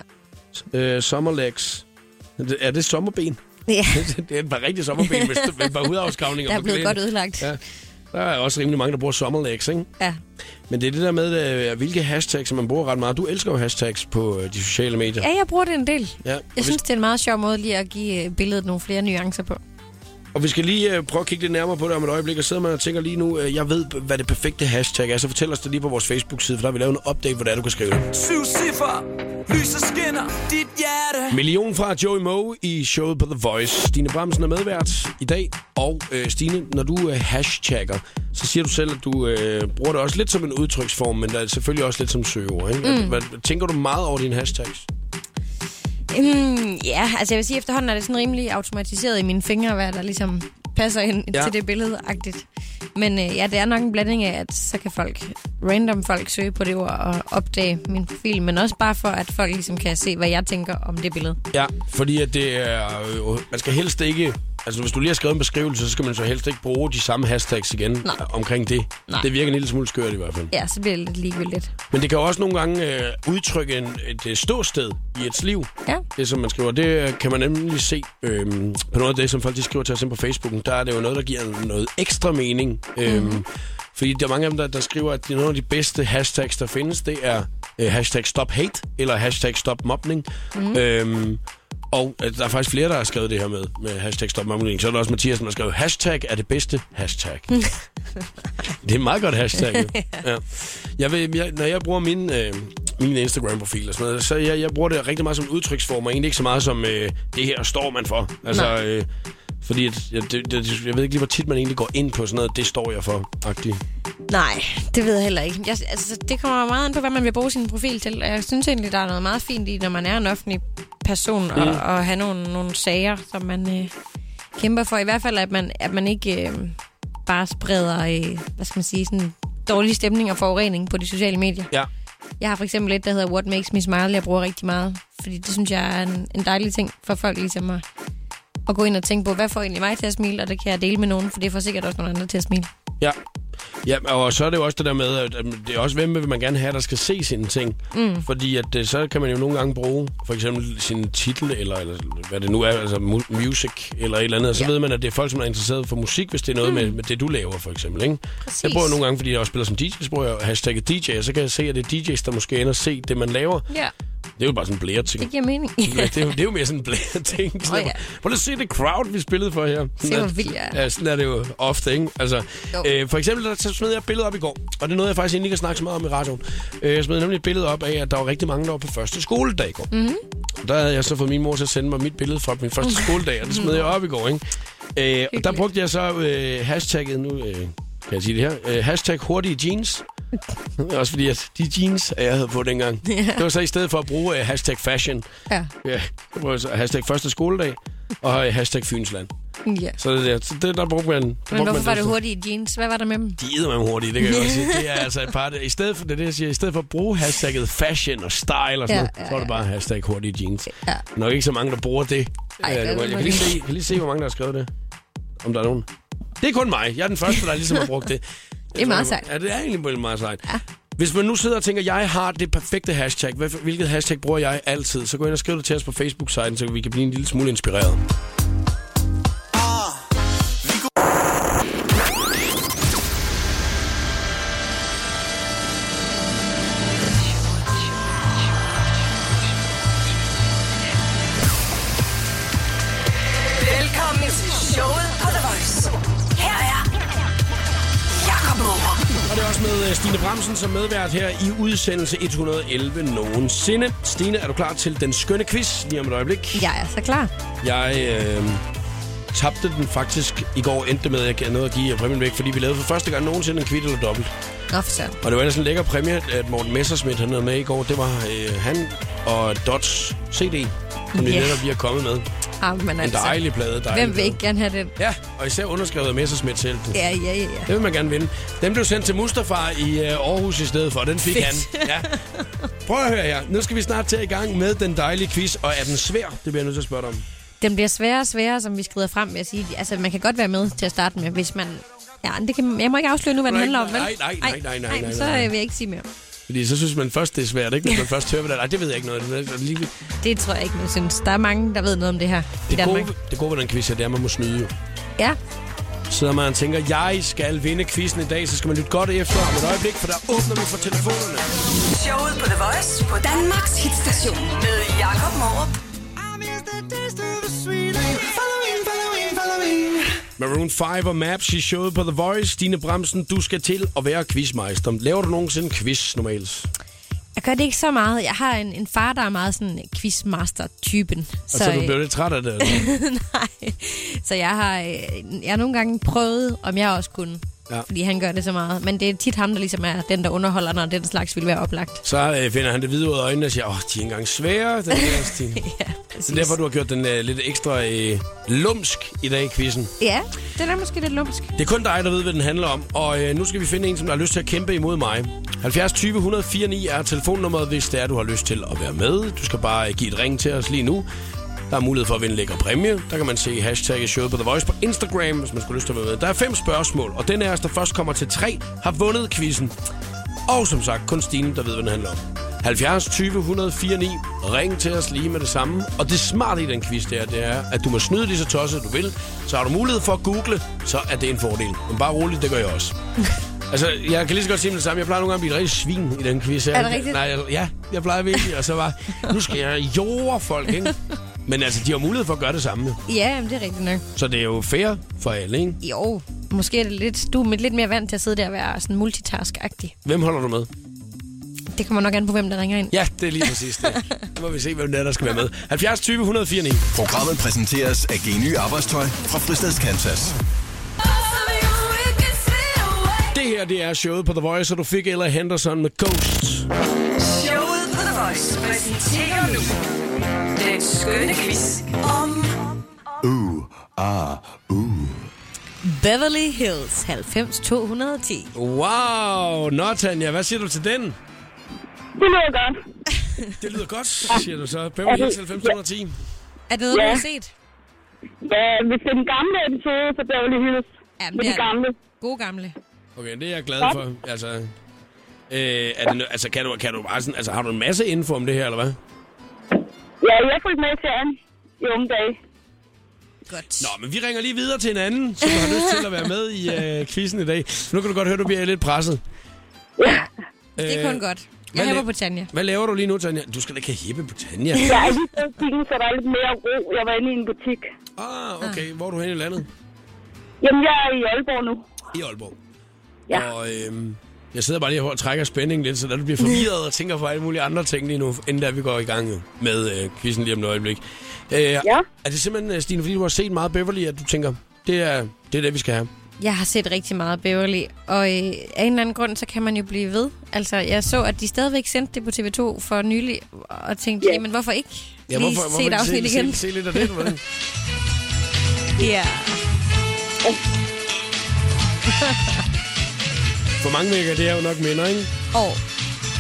Speaker 1: Øh, sommerlegs. Det- Er det sommerben?
Speaker 2: ja.
Speaker 1: det er et par rigtige sommerben med, med et par hudafskavninger.
Speaker 2: Der er
Speaker 1: på
Speaker 2: blevet
Speaker 1: knæene.
Speaker 2: godt ødelagt.
Speaker 1: Ja. Der er også rimelig mange, der bruger sommerlegs, ikke?
Speaker 2: ja.
Speaker 1: Men det er det der med, øh, hvilke hashtags man bruger ret meget. Du elsker jo hashtags på øh, de sociale medier.
Speaker 2: Ja, jeg bruger det en del.
Speaker 1: Ja, og,
Speaker 2: Jeg
Speaker 1: vi,
Speaker 2: synes, det er en meget sjov måde lige at give øh, billedet nogle flere nuancer på.
Speaker 1: og vi skal lige øh, prøve at kigge lidt nærmere på det om et øjeblik. Og sidder man og tænker lige nu, øh, jeg ved, p- hvad det perfekte hashtag er, så fortæl os det lige på vores Facebook-side, for der har vi lavet en update, hvor det er, du kan skrive det.
Speaker 7: Syv cifre, lyset skinner, dit hjerte.
Speaker 1: Million fra Joey Moe i showet på The Voice. Stine Bramsen er medvært i dag. Og øh, Stine, når du øh, hashtagger, så siger du selv, at du øh, bruger det også lidt som en udtryksform, men der er selvfølgelig også lidt som søgeord. Ikke? Mm. Hvad, tænker du meget over dine hashtags?
Speaker 2: Mm, ja, altså jeg vil sige, efterhånden er det sådan rimelig automatiseret i mine fingre, hvad der ligesom passer ind
Speaker 1: Ja.
Speaker 2: ja. til det billede-agtigt. Men øh, ja, det er nok en blanding af, at så kan folk, random folk, søge på det ord og opdage min profil, men også bare for, at folk ligesom kan se, hvad jeg tænker om det billede.
Speaker 1: Ja, fordi at det er... øh, Man skal helst ikke... Altså, hvis du lige har skrevet en beskrivelse, så skal man så helst ikke bruge de samme hashtags igen øh,
Speaker 2: Nej.
Speaker 1: omkring det.
Speaker 2: Nej.
Speaker 1: Det virker en lille smule skørt i hvert fald.
Speaker 2: Ja, så bliver det lidt ligegyldigt.
Speaker 1: Men det kan jo også nogle gange øh, udtrykke en, et øh, ståsted i et liv.
Speaker 2: Ja.
Speaker 1: Det, som man skriver, det øh, kan man nemlig se øhm, på noget af det, som folk de skriver til os ind på Facebooken. Der er det jo noget, der giver noget ekstra mening. Øhm, mm. Fordi der er mange af dem, der, der skriver, at de- nogle af de bedste hashtags, der findes, det er øh, hashtag stop hate eller hashtag stop mobning. Mm. Øhm, og at der er faktisk flere, der har skrevet det her med, med hashtag stop mobning. Så er der også Mathias, der har skrevet, hashtag er det bedste hashtag. Det er et meget godt hashtag. jo. ja. jeg vil, jeg, når jeg bruger min, øh, min Instagram-profil og sådan noget, så jeg, jeg bruger det rigtig meget som udtryksform, og egentlig ikke så meget som, øh, det her står man for. Altså,
Speaker 2: Nej.
Speaker 1: øh, fordi at, jeg, det, det, jeg ved ikke lige, hvor tit man egentlig går ind på sådan noget, det står jeg for, agtigt.
Speaker 2: Nej, det ved jeg heller ikke. Jeg, altså, det kommer meget an på, hvad man vil bruge sin profil til. Jeg synes egentlig, der er noget meget fint i, når man er en offentlig person, mm. og, og have nogle, nogle sager, som man øh, kæmper for. I hvert fald, at man, at man ikke øh, bare spreder, øh, hvad skal man sige, sådan dårlig stemning og forurening på de sociale medier.
Speaker 1: Ja.
Speaker 2: Jeg har for eksempel et, der hedder What Makes Me Smile, jeg bruger rigtig meget. Fordi det synes jeg er en, en dejlig ting for folk ligesom at, at gå ind og tænke på, hvad får egentlig mig til at smile, og det kan jeg dele med nogen, for det får sikkert også nogle andre til at smile.
Speaker 1: Ja. Ja, og så er det jo også det der med, at at det er også, hvem vil man gerne have, der skal se sine ting. Mm. Fordi at, øh, så kan man jo nogle gange bruge for eksempel sin titel, eller, eller hvad det nu er, altså mu- music, eller et eller andet. Og så ja. ved man, at det er folk, som er interesseret for musik, hvis det er noget mm. med, med det, du laver, for eksempel. Ikke?
Speaker 2: Præcis.
Speaker 1: Jeg bruger nogle gange, fordi jeg også spiller som DJ, så bruger jeg hashtagget DJ, og så kan jeg se, at det er DJ's, der måske ender og se det, man laver.
Speaker 2: Ja,
Speaker 1: Det er jo bare sådan en blære ting.
Speaker 2: det giver mening.
Speaker 1: Ja, det, er jo, det er jo mere sådan en blære ting. Oh,
Speaker 2: Åh,
Speaker 1: ja.
Speaker 2: ja.
Speaker 1: Prøv lige at se det crowd, vi spillede for her. Sådan
Speaker 2: hvor
Speaker 1: er-
Speaker 2: vild jeg er.
Speaker 1: Ja, sådan er det jo ofte, ikke? Altså,
Speaker 2: Jo.
Speaker 1: øh, for eksempel, der så smed jeg et billede op i går, og det er noget, jeg faktisk egentlig ikke har snakket så meget om i radioen. Øh, jeg smed nemlig et billede op af, at der var rigtig mange, der var på første skoledag i går. Mm-hmm. Der havde jeg så fået min mor til at sende mig mit billede fra min første skoledag, og det smed jeg op i går, ikke? Øh, og der brugte jeg så øh, hashtagget nu... Øh, kan jeg sige det her? Øh, hashtag hurtige jeans. Også fordi, at de jeans, jeg havde på dengang, ja. det var så i stedet for at bruge øh, hashtag fashion,
Speaker 2: Ja.
Speaker 1: Ja, det var så hashtag første skoledag og øh, hashtag Fynsland.
Speaker 2: Ja.
Speaker 1: Så det der, så det, der brugte man... Der
Speaker 2: Men
Speaker 1: brugte
Speaker 2: hvorfor
Speaker 1: man
Speaker 2: var det
Speaker 1: udstyr.
Speaker 2: hurtigt i jeans? Hvad var der med dem?
Speaker 1: De æder man hurtigt, altså- det kan jeg godt sige. Det er altså et par... I stedet for, det er det, jeg siger. I stedet for at bruge hashtagget fashion og style og sådan
Speaker 2: Ja,
Speaker 1: noget,
Speaker 2: ja,
Speaker 1: så er det bare hashtag hurtige jeans.
Speaker 2: Ja.
Speaker 1: Nok ikke så mange, der bruger det.
Speaker 2: Ej,
Speaker 1: Øh,
Speaker 2: det er
Speaker 1: jeg, kan
Speaker 2: det
Speaker 1: lige
Speaker 2: nok
Speaker 1: se, kan lige se, hvor mange, der har skrevet det. Om der er nogen. Det er kun mig. Jeg er den første, der ligesom har brugt det.
Speaker 2: Det er meget
Speaker 1: Jeg tror,
Speaker 2: sejt.
Speaker 1: Altså, Ja, det er egentlig meget- meget sejt. Ja. Hvis man nu sidder og tænker, jeg har det perfekte hashtag, hvad- hvilket hashtag bruger jeg altid, så gå ind og skriv det til os på Facebook-siden, så vi kan blive en lille smule inspireret.
Speaker 3: Velkommen til showet på The Voice. Her er Jakob Morup.
Speaker 1: Og det er også med øh, Stine Bramsen som medvært her i udsendelse 111 nogensinde. Stine, er du klar til den skønne quiz lige om et øjeblik?
Speaker 2: Jeg er så klar.
Speaker 1: Jeg øh, tabte den faktisk i går, endte det med, at jeg nåede at give præmien væk, fordi vi lavede for første gang nogensinde en kvitt eller dobbelt.
Speaker 2: Nå, for søren.
Speaker 1: Og det var ellers en lækker præmie, at Morten Messerschmidt han havde med i går. Det var øh, han og Dots CD, som vi
Speaker 2: Ja.
Speaker 1: netop lige er kommet med.
Speaker 2: Ah, men
Speaker 1: En
Speaker 2: altså,
Speaker 1: dejlig plade, dejlig
Speaker 2: hvem vil
Speaker 1: plade.
Speaker 2: ikke gerne have den?
Speaker 1: Ja, og især underskrevet af Messerschmidt selv. Du.
Speaker 2: Ja, ja, ja. ja.
Speaker 1: Det vil man gerne vinde. Den blev sendt til Mustafa i øh, Aarhus i stedet for, og den fik han. Ja. Prøv at høre her. Nu skal vi snart til i gang med den dejlige quiz, og er den svær? Det bliver jeg nødt til at spørge dig om.
Speaker 2: Den bliver sværere og sværere, som vi skrider frem med at sige. Altså, man kan godt være med til at starte med, hvis man... Ja, men det kan, jeg må ikke afsløre nu, hvad den
Speaker 1: Nej,
Speaker 2: handler om, vel?
Speaker 1: nej, nej, nej, nej, nej,
Speaker 2: Ej, men
Speaker 1: nej,
Speaker 2: så
Speaker 1: nej.
Speaker 2: øh, vil jeg ikke sige mere.
Speaker 1: Fordi så synes man først, det er svært, ikke? Hvis man først hører, hvad der er. Ej, det ved jeg ikke noget. om. Det er lige-
Speaker 2: Det tror jeg ikke, man synes. Der er mange, der ved noget om det her i
Speaker 1: Det
Speaker 2: Danmark.
Speaker 1: gode, det gode ved den quiz her, det er, at man må snyde jo.
Speaker 2: Ja,
Speaker 1: sidder man og tænker, jeg skal vinde quizzen i dag, så skal man lytte godt efter om et øjeblik, for der åbner vi for telefonerne.
Speaker 3: Showet på The Voice på Danmarks hitstation med Jakob Morup.
Speaker 1: Maroon 5 og Maps i showet på The Voice. Stine Bremsen, du skal til at være quizmeister. Laver du nogensinde quiz normalt?
Speaker 2: jeg gør det ikke så meget. Jeg har en, en far, der er meget sådan quizmaster-typen.
Speaker 1: Og så Altså, du
Speaker 2: øh,
Speaker 1: blev lidt træt af det. eller?
Speaker 2: Nej. Så jeg har, øh, jeg har nogle gange prøvet, om jeg også kunne.
Speaker 1: Ja.
Speaker 2: Ja. Fordi han gør det så meget. Men det er tit ham, der ligesom er den, der underholder, når den slags ville være oplagt.
Speaker 1: Så øh, finder han det videre ud af øjnene og siger, åh, oh, de er ikke engang svære, den der Stine.
Speaker 2: Ja,
Speaker 1: Så
Speaker 2: præcis.
Speaker 1: derfor du har gjort den øh, lidt ekstra øh, lumsk i dag i quizzen.
Speaker 2: Ja, den er måske lidt lumsk.
Speaker 1: Det er kun dig, der ved, hvad den handler om. Og øh, nu skal vi finde en, som der har lyst til at kæmpe imod mig. 70 20 104 9 er telefonnummeret, hvis det er, du har lyst til at være med. Du skal bare øh, give et ring til os lige nu. Der er mulighed for at vinde en lækker præmie. Der kan man se hashtag showet på The Voice på Instagram, hvis man skulle lyst til at være med. Der er fem spørgsmål, og den af os, der først kommer til tre, har vundet quizzen. Og som sagt, kun Stine, der ved, hvad den handler om. 70 20 104 9. Ring til os lige med det samme. Og det smarte i den quiz der, det er, at du må snyde lige så tosset, du vil. Så har du mulighed for at google, så er det en fordel. Men bare roligt, det gør jeg også. Altså, jeg kan lige så godt sige med det samme. Jeg plejer nogle gange at blive et rigtig svin i den quiz her.
Speaker 2: Er det rigtigt?
Speaker 1: Nej, jeg, ja, jeg plejer virkelig. Og så var, nu skal jeg jorde folk, ikke? Men altså, de har mulighed for at gøre det samme. jo.
Speaker 2: Ja, jamen, det er rigtigt nok.
Speaker 1: Så det er jo fair for alle, ikke?
Speaker 2: Jo, måske er det lidt, du er lidt mere vant til at sidde der og være sådan multitask-agtig.
Speaker 1: Hvem holder du med?
Speaker 2: Det kommer nok an på, hvem der ringer ind.
Speaker 1: Ja, det er lige præcis det. Nu må vi se, hvem det er, der skal være med. 70 20 104 9.
Speaker 5: Programmet præsenteres af Geny Arbejdstøj fra Fristads Kansas.
Speaker 1: Det her, det er showet på The Voice, og du fik Ella Henderson med Ghost.
Speaker 3: Showet på The Voice præsenterer nu den skønne quiz om
Speaker 5: Uh, ah, uh.
Speaker 2: Beverly Hills 90 210.
Speaker 1: Wow, nå Tanja, hvad siger du til den?
Speaker 8: Det lyder godt.
Speaker 1: Det lyder godt, siger du så. Beverly Hills 90210.
Speaker 2: Er det noget, du
Speaker 8: Ja.
Speaker 2: har set?
Speaker 8: Ja, hvis det er den gamle episode, så Beverly Hills.
Speaker 2: Jamen, det
Speaker 8: med de
Speaker 2: er-
Speaker 8: gamle.
Speaker 2: God gamle.
Speaker 1: Okay, det er jeg glad for. Altså, øh, er det, nø- altså, kan du, kan du bare sådan, altså, har du en masse info om det her, eller hvad?
Speaker 8: Ja, jeg fulgte med i serien i unge dage.
Speaker 2: Godt.
Speaker 1: Nå, men vi ringer lige videre til en anden, som har lyst til at være med i øh, quizzen i dag. Nu kan du godt høre, du bliver lidt presset.
Speaker 2: det er kun godt. Jeg
Speaker 1: Øh, hvad
Speaker 2: hæver
Speaker 1: la-
Speaker 2: på Tanja.
Speaker 1: Hvad laver du lige nu, Tanja? Du skal da ikke have hæppe på Tanja.
Speaker 8: Jeg er lige blevet butikken, så der er lidt mere ro. Jeg var inde i en butik.
Speaker 1: Ah, okay. Hvor er du henne i landet?
Speaker 8: Jamen, jeg er i Aalborg nu.
Speaker 1: I Aalborg.
Speaker 8: Ja.
Speaker 1: Og øhm, jeg sidder bare lige og trækker spændingen lidt, så da du bliver forvirret og tænker på alle mulige andre ting lige nu, inden da vi går i gang jo med øh, quizzen lige om et øjeblik. Øh, ja. Er det simpelthen, øh, Stine, fordi du har set meget Beverly, at du tænker, det er det, er det vi skal have?
Speaker 2: Jeg har set rigtig meget Beverly, og øh, af en eller anden grund, så kan man jo blive ved. Altså, jeg så, at de stadigvæk sendte det på TV2 for nylig, og tænkte, yeah. jamen hvorfor ikke?
Speaker 1: hvorfor-
Speaker 2: se et
Speaker 1: hvorfor
Speaker 2: afsnit
Speaker 1: se,
Speaker 2: igen.
Speaker 1: Se, se lidt af det, du ved.
Speaker 2: Ja.
Speaker 1: For mange virker det er jo nok minder, ikke?
Speaker 2: Åh,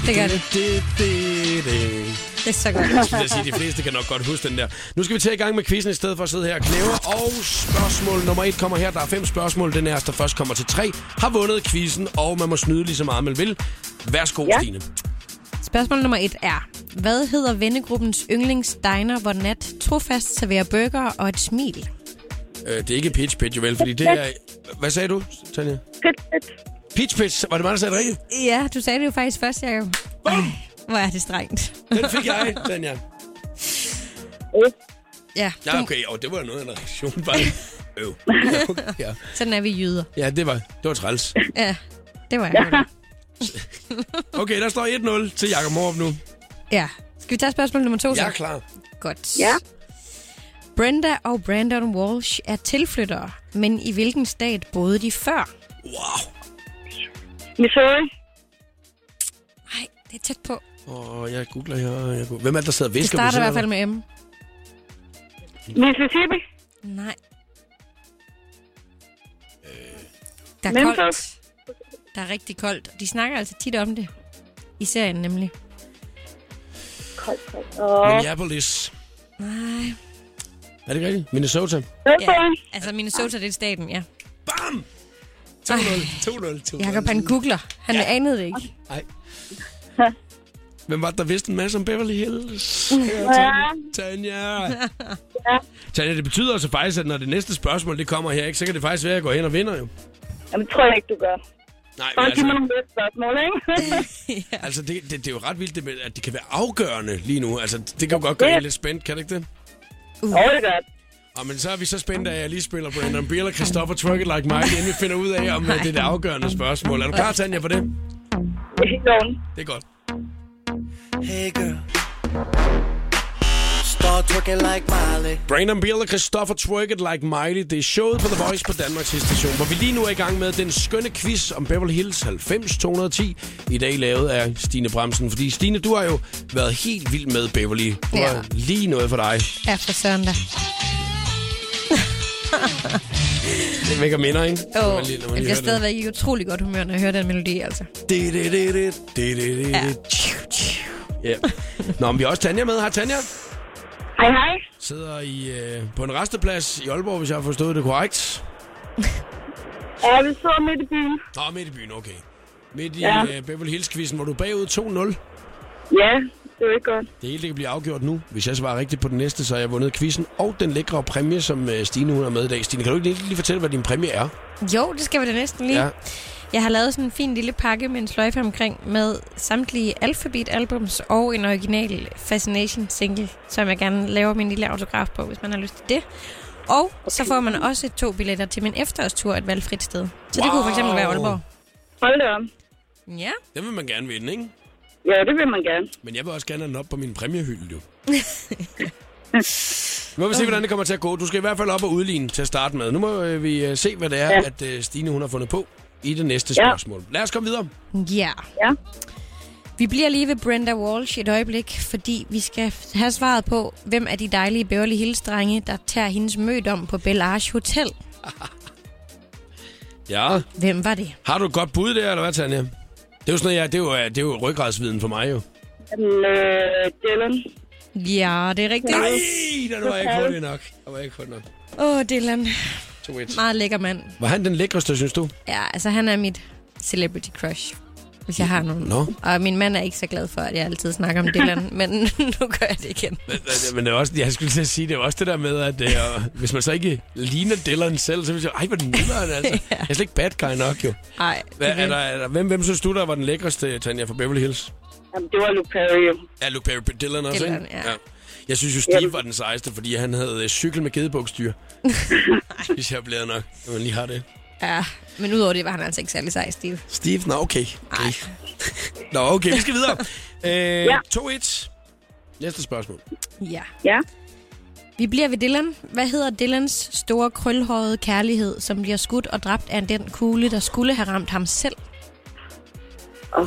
Speaker 2: det gør det.
Speaker 1: det, det, det.
Speaker 2: Det er så godt.
Speaker 1: Skulle jeg sige, de fleste kan nok godt huske den der. Nu skal vi til i gang med quizzen i stedet for at sidde her og knæve. Og spørgsmål nummer et kommer her. Der er fem spørgsmål. Den her, der først kommer til tre, har vundet quizzen, og man må snyde lige så meget, man vil. Værsgo, ja.
Speaker 8: Ja.
Speaker 1: Stine.
Speaker 2: Spørgsmål nummer et er, hvad hedder vennegruppens yndlingsdiner, hvor Nat trofast serverer burger og et smil?
Speaker 1: Øh, det er ikke Peach Pitch, jo vel, fordi det er... Hvad sagde du, Tanja?
Speaker 8: Fedt, fedt.
Speaker 1: Peach Pitch, var det mig, der sagde det rigtigt?
Speaker 2: Ja, du sagde det jo faktisk først, Jacob. Ej, hvor er det strengt.
Speaker 1: Den fik jeg, Tanja.
Speaker 2: Ja,
Speaker 1: Ja,
Speaker 2: du,
Speaker 1: okay, og det var noget af en reaktion, bare. Øv. Ja,
Speaker 2: sådan er vi jyder.
Speaker 1: ja det, var, det var træls.
Speaker 2: Ja, det var jeg.
Speaker 1: Okay, der står 1-0 til Jakob Morup nu.
Speaker 2: Ja. Skal vi tage spørgsmål nummer to? så?
Speaker 1: Jeg er klar.
Speaker 2: Godt.
Speaker 8: Ja.
Speaker 2: Brenda og Brandon Walsh er tilflyttere, men i hvilken stat boede de før?
Speaker 1: Wow.
Speaker 8: Missouri.
Speaker 2: Nej, det er tæt på.
Speaker 1: Og jeg googler her. Jeg googler. Hvem er det, der sidder og
Speaker 2: Det
Speaker 1: visker?
Speaker 2: starter i hvert fald med M.
Speaker 8: Mississippi.
Speaker 2: Nej. Der er
Speaker 8: Memphis?
Speaker 2: koldt. Der er rigtig koldt. De snakker altså tit om det. I serien nemlig.
Speaker 1: Minneapolis.
Speaker 2: Nej.
Speaker 1: Er det ikke rigtigt? Minnesota.
Speaker 8: Bedford.
Speaker 2: Altså Minnesota, det er staten, ja.
Speaker 1: Bam! 2-0.
Speaker 2: Ej.
Speaker 1: 2-0. 2-0.
Speaker 2: Jakob, han googler. Han ja. anede det ikke.
Speaker 1: Hvem var det, der vidste en masse om Beverly Hills? Tanja. Tanja, det betyder altså faktisk, at når det næste spørgsmål det kommer her, ikke, så kan det faktisk være, at jeg går hen og vinder jo.
Speaker 8: Jamen, det tror jeg ikke, du gør.
Speaker 1: Nej, men
Speaker 8: Bare giv mig
Speaker 1: altså,
Speaker 8: nogle lidt spørgsmål, ikke?
Speaker 1: altså det, det, det, er jo ret vildt, det, med, at det kan være afgørende lige nu. Altså, det kan jo godt gøre en lidt spændt, kan det ikke det?
Speaker 8: Jo, det gør det.
Speaker 1: Og men så er vi så spændte af, at jeg lige spiller Brandon Beal og Christopher Truck It Like Mike, inden vi finder ud af, om øh, det er det afgørende spørgsmål. Er du klar, Tanja, på det?
Speaker 8: Det er helt oven.
Speaker 1: Det er godt.
Speaker 7: Hey girl. Start twerking like Miley.
Speaker 1: Brandon Beal og Christopher Twerk It Like Miley, det er showet på The Voice på Danmarks station, hvor vi lige nu er i gang med den skønne quiz om Beverly Hills 90210, i dag lavet af Stine Bremsen. Fordi Stine, du har jo været helt vild med Beverly. Du
Speaker 2: Ja.
Speaker 1: har lige noget for dig.
Speaker 2: Ja, for søren da.
Speaker 1: Det vækker minder, ikke? Når
Speaker 2: Åh,
Speaker 1: man lige- når man lige
Speaker 2: jeg bliver
Speaker 1: hører det.
Speaker 2: stadigvæk i utrolig godt humør, når jeg hører den melodi, altså.
Speaker 1: Det, det, det, det, det, det, det,
Speaker 2: Ja.
Speaker 1: det. Ja. Nå, men vi har også Tanja med. Hej, Tanja.
Speaker 8: Hej, hej.
Speaker 1: Sidder i, øh, på en resteplads i Aalborg, hvis jeg har forstået det korrekt.
Speaker 8: Ja, vi sidder midt i byen.
Speaker 1: Nå, midt i byen, okay. Midt i
Speaker 8: Ja.
Speaker 1: ja. Beverly Hills-quizzen, hvor du er bagud 2-0.
Speaker 8: Ja, det er jo ikke godt.
Speaker 1: Det hele det kan blive afgjort nu. Hvis jeg svarer rigtigt på den næste, så har jeg vundet quizzen og den lækre præmie, som øh, Stine hun har med i dag. Stine, kan du ikke lige, lige fortælle, hvad din præmie er?
Speaker 2: Jo, det skal vi da næsten lige.
Speaker 1: Ja.
Speaker 2: Ja. Jeg har lavet sådan en fin lille pakke med en sløjfe omkring med samtlige Alphabet-albums og en original Fascination-single, som jeg gerne laver min lille autograf på, hvis man har lyst til det. Og okay. så får man også to billetter til min efterårstur et valgfrit sted. Så wow. det kunne for eksempel være
Speaker 1: Wow.
Speaker 2: Aalborg.
Speaker 8: Hold da op.
Speaker 2: Ja,
Speaker 1: Den vil man gerne vinde, ikke?
Speaker 8: Ja, det vil man gerne.
Speaker 1: Men jeg vil også gerne have den op på min præmiehylde, jo. Nu må vi se, hvordan det kommer til at gå. Du skal i hvert fald op og udligne til at starte med. Nu må øh, vi øh, se, hvad det er, ja.
Speaker 8: Ja.
Speaker 1: at øh, Stine hun har fundet på i det næste
Speaker 8: Ja.
Speaker 1: spørgsmål. Lad os komme videre.
Speaker 2: Ja.
Speaker 8: Ja.
Speaker 2: Vi bliver lige ved Brenda Walsh et øjeblik, fordi vi skal have svaret på, hvem af de dejlige Beverly Hills-drenge, der tager hendes mødom på Bellage Hotel.
Speaker 1: Ja.
Speaker 2: Hvem var det?
Speaker 1: Har du et godt bud der, eller hvad, Tanja? Det er jo sådan noget, ja, det er jo, øh, det er jo ryggradsviden for mig, jo.
Speaker 8: Men, øh, Dylan.
Speaker 2: Ja, det er rigtigt.
Speaker 1: Nej, der var jeg ikke hurtig nok. Der var jeg ikke hurtig nok.
Speaker 2: Åh, oh, Dylan.
Speaker 1: 2-1.
Speaker 2: Meget lækker mand.
Speaker 1: Var han den lækreste, synes du?
Speaker 2: Ja, altså han er mit celebrity crush. Hvis jeg har nogen.
Speaker 1: Nå.
Speaker 2: Og min mand er ikke så glad for, at jeg altid snakker om Dylan, men nu gør jeg det igen.
Speaker 1: Men- Men det er også, jeg skulle til at sige, det er også det der med, at øh, hvis man så ikke ligner Dylan selv, så vil jeg sige, ej, hvor er den nederen, altså. Jeg er slet ikke bad guy nok, jo.
Speaker 2: Nej,
Speaker 1: Hvad, er der, er der, hvem, hvem synes du, der var den lækreste, Tanja, fra Beverly Hills?
Speaker 8: Jamen, det var Luke Perry. jo.
Speaker 1: Ja, Luke Perry Dylan også,
Speaker 2: Dylan,
Speaker 1: ikke?
Speaker 2: ja.
Speaker 1: Jeg synes jo, Steve var den sejeste, fordi han havde øh, cykel med gedebuksdyr. Hvis jeg bliver nok, når man lige har det.
Speaker 2: Ja, men udover det var han altså ikke særlig sej, Steve.
Speaker 1: Steve, nå okay. okay. Nå okay, vi skal videre. Øh,
Speaker 8: Ja.
Speaker 1: 2-1. Næste spørgsmål.
Speaker 2: Ja.
Speaker 8: Ja.
Speaker 2: Vi bliver ved Dylan. Hvad hedder Dylans store krølhårede kærlighed, som bliver skudt og dræbt af den kugle, der skulle have ramt ham selv?
Speaker 8: Og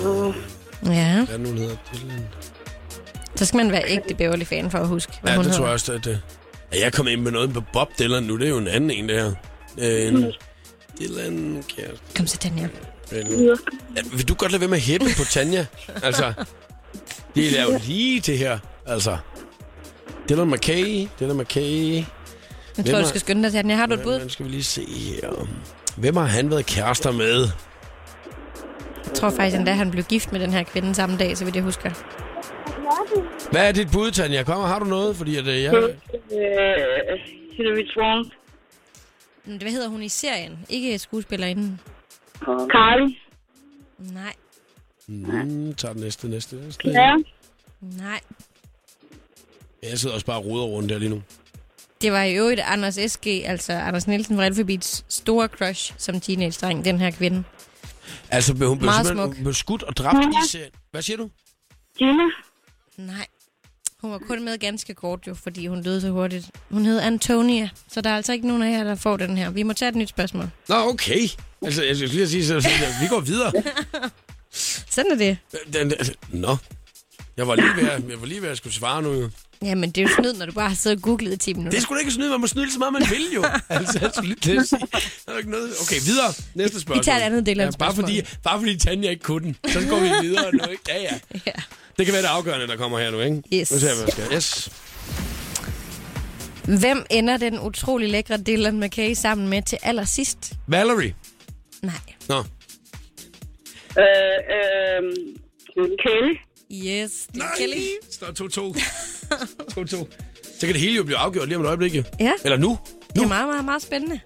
Speaker 2: Ja.
Speaker 1: Hvad er det nu, hun hedder? Dylan?
Speaker 2: Så skal man være ægte Beverly-fan for at huske, hvad
Speaker 1: Ja,
Speaker 2: hun
Speaker 1: det
Speaker 2: hedder.
Speaker 1: tror jeg også, at det... Er jeg kommet ind med noget på Bob Dylan nu? Det er jo en anden en, det her. Øh, En Dylan... Kjær-
Speaker 2: Kom så, Daniel.
Speaker 1: Dylan. Ja, Vil du godt lade være med at hæppe på Tanja? Altså, det er jo lige det her. Altså, Dylan McKay, Dylan McKay...
Speaker 2: Jeg
Speaker 1: Hvem
Speaker 2: tror,
Speaker 1: er-
Speaker 2: du skal skynde dig, Daniel. Har du et bud?
Speaker 1: Hvordan skal vi lige se her? Hvem har han været kærester med?
Speaker 2: Jeg tror faktisk endda, han blev gift med den her kvinde samme dag, så vidt jeg husker.
Speaker 1: Hvad er dit bud, Tanja? Kom, har du noget? Fordi at, øh, jeg...
Speaker 8: Øh, Hilary Swank.
Speaker 2: Men Hvad hedder hun i serien? Ikke skuespillerinden.
Speaker 8: Carly.
Speaker 2: Nej,
Speaker 1: Mm, tager den næste, næste, næste.
Speaker 8: Ja.
Speaker 2: nej.
Speaker 1: Jeg sidder også bare og roder rundt der lige nu.
Speaker 2: Det var i øvrigt Anders S.G., altså Anders Nielsen fra Elfabits store crush som teenage-dreng, den her kvinde.
Speaker 1: Altså, hun blev,
Speaker 2: Meget
Speaker 1: simpelthen-
Speaker 2: smuk.
Speaker 1: hun blev skudt og dræbt i serien. Hvad siger du?
Speaker 8: Gina.
Speaker 2: Nej. Hun var kun med ganske kort jo, fordi hun døde så hurtigt. Hun hed Antonia, så der er altså ikke nogen af jer, der får den her. Vi må tage et nyt spørgsmål.
Speaker 1: Nå, okay. Altså, jeg skulle lige sige, så, så, vi går videre.
Speaker 2: Sådan er det.
Speaker 1: Den, altså, nå. Jeg var lige ved at, jeg var lige ved at skulle svare nu. jo.
Speaker 2: Jamen, det er jo snyd, når du bare har siddet og googlet i 10
Speaker 1: Det
Speaker 2: minutter.
Speaker 1: er sgu da ikke snyde. Man må snyde lige så meget, man vil jo. Altså, jeg skulle lige til at sige. Der er jo ikke noget. Okay, videre. Næste spørgsmål.
Speaker 2: et andet del af et
Speaker 1: bare fordi,
Speaker 2: spørgsmål.
Speaker 1: bare fordi Tanja ikke kunne den. Så går vi videre nu, ikke? Ja, ja.
Speaker 2: Ja.
Speaker 1: Det kan være det afgørende, der kommer her nu, ikke?
Speaker 2: Yes.
Speaker 1: Nu ser jeg, hvad der sker. Yes.
Speaker 2: Hvem ender den utrolig lækre Dylan McKay sammen med til allersidst?
Speaker 1: Valerie.
Speaker 2: Nej.
Speaker 1: Nå.
Speaker 8: Øh, øh, Kelly.
Speaker 2: Yes, det er Kelly.
Speaker 1: Står 2-2. 2-2. Så kan det hele jo blive afgjort lige om et øjeblik, jo.
Speaker 2: Ja.
Speaker 1: Eller nu.
Speaker 2: Det er meget, meget, meget spændende.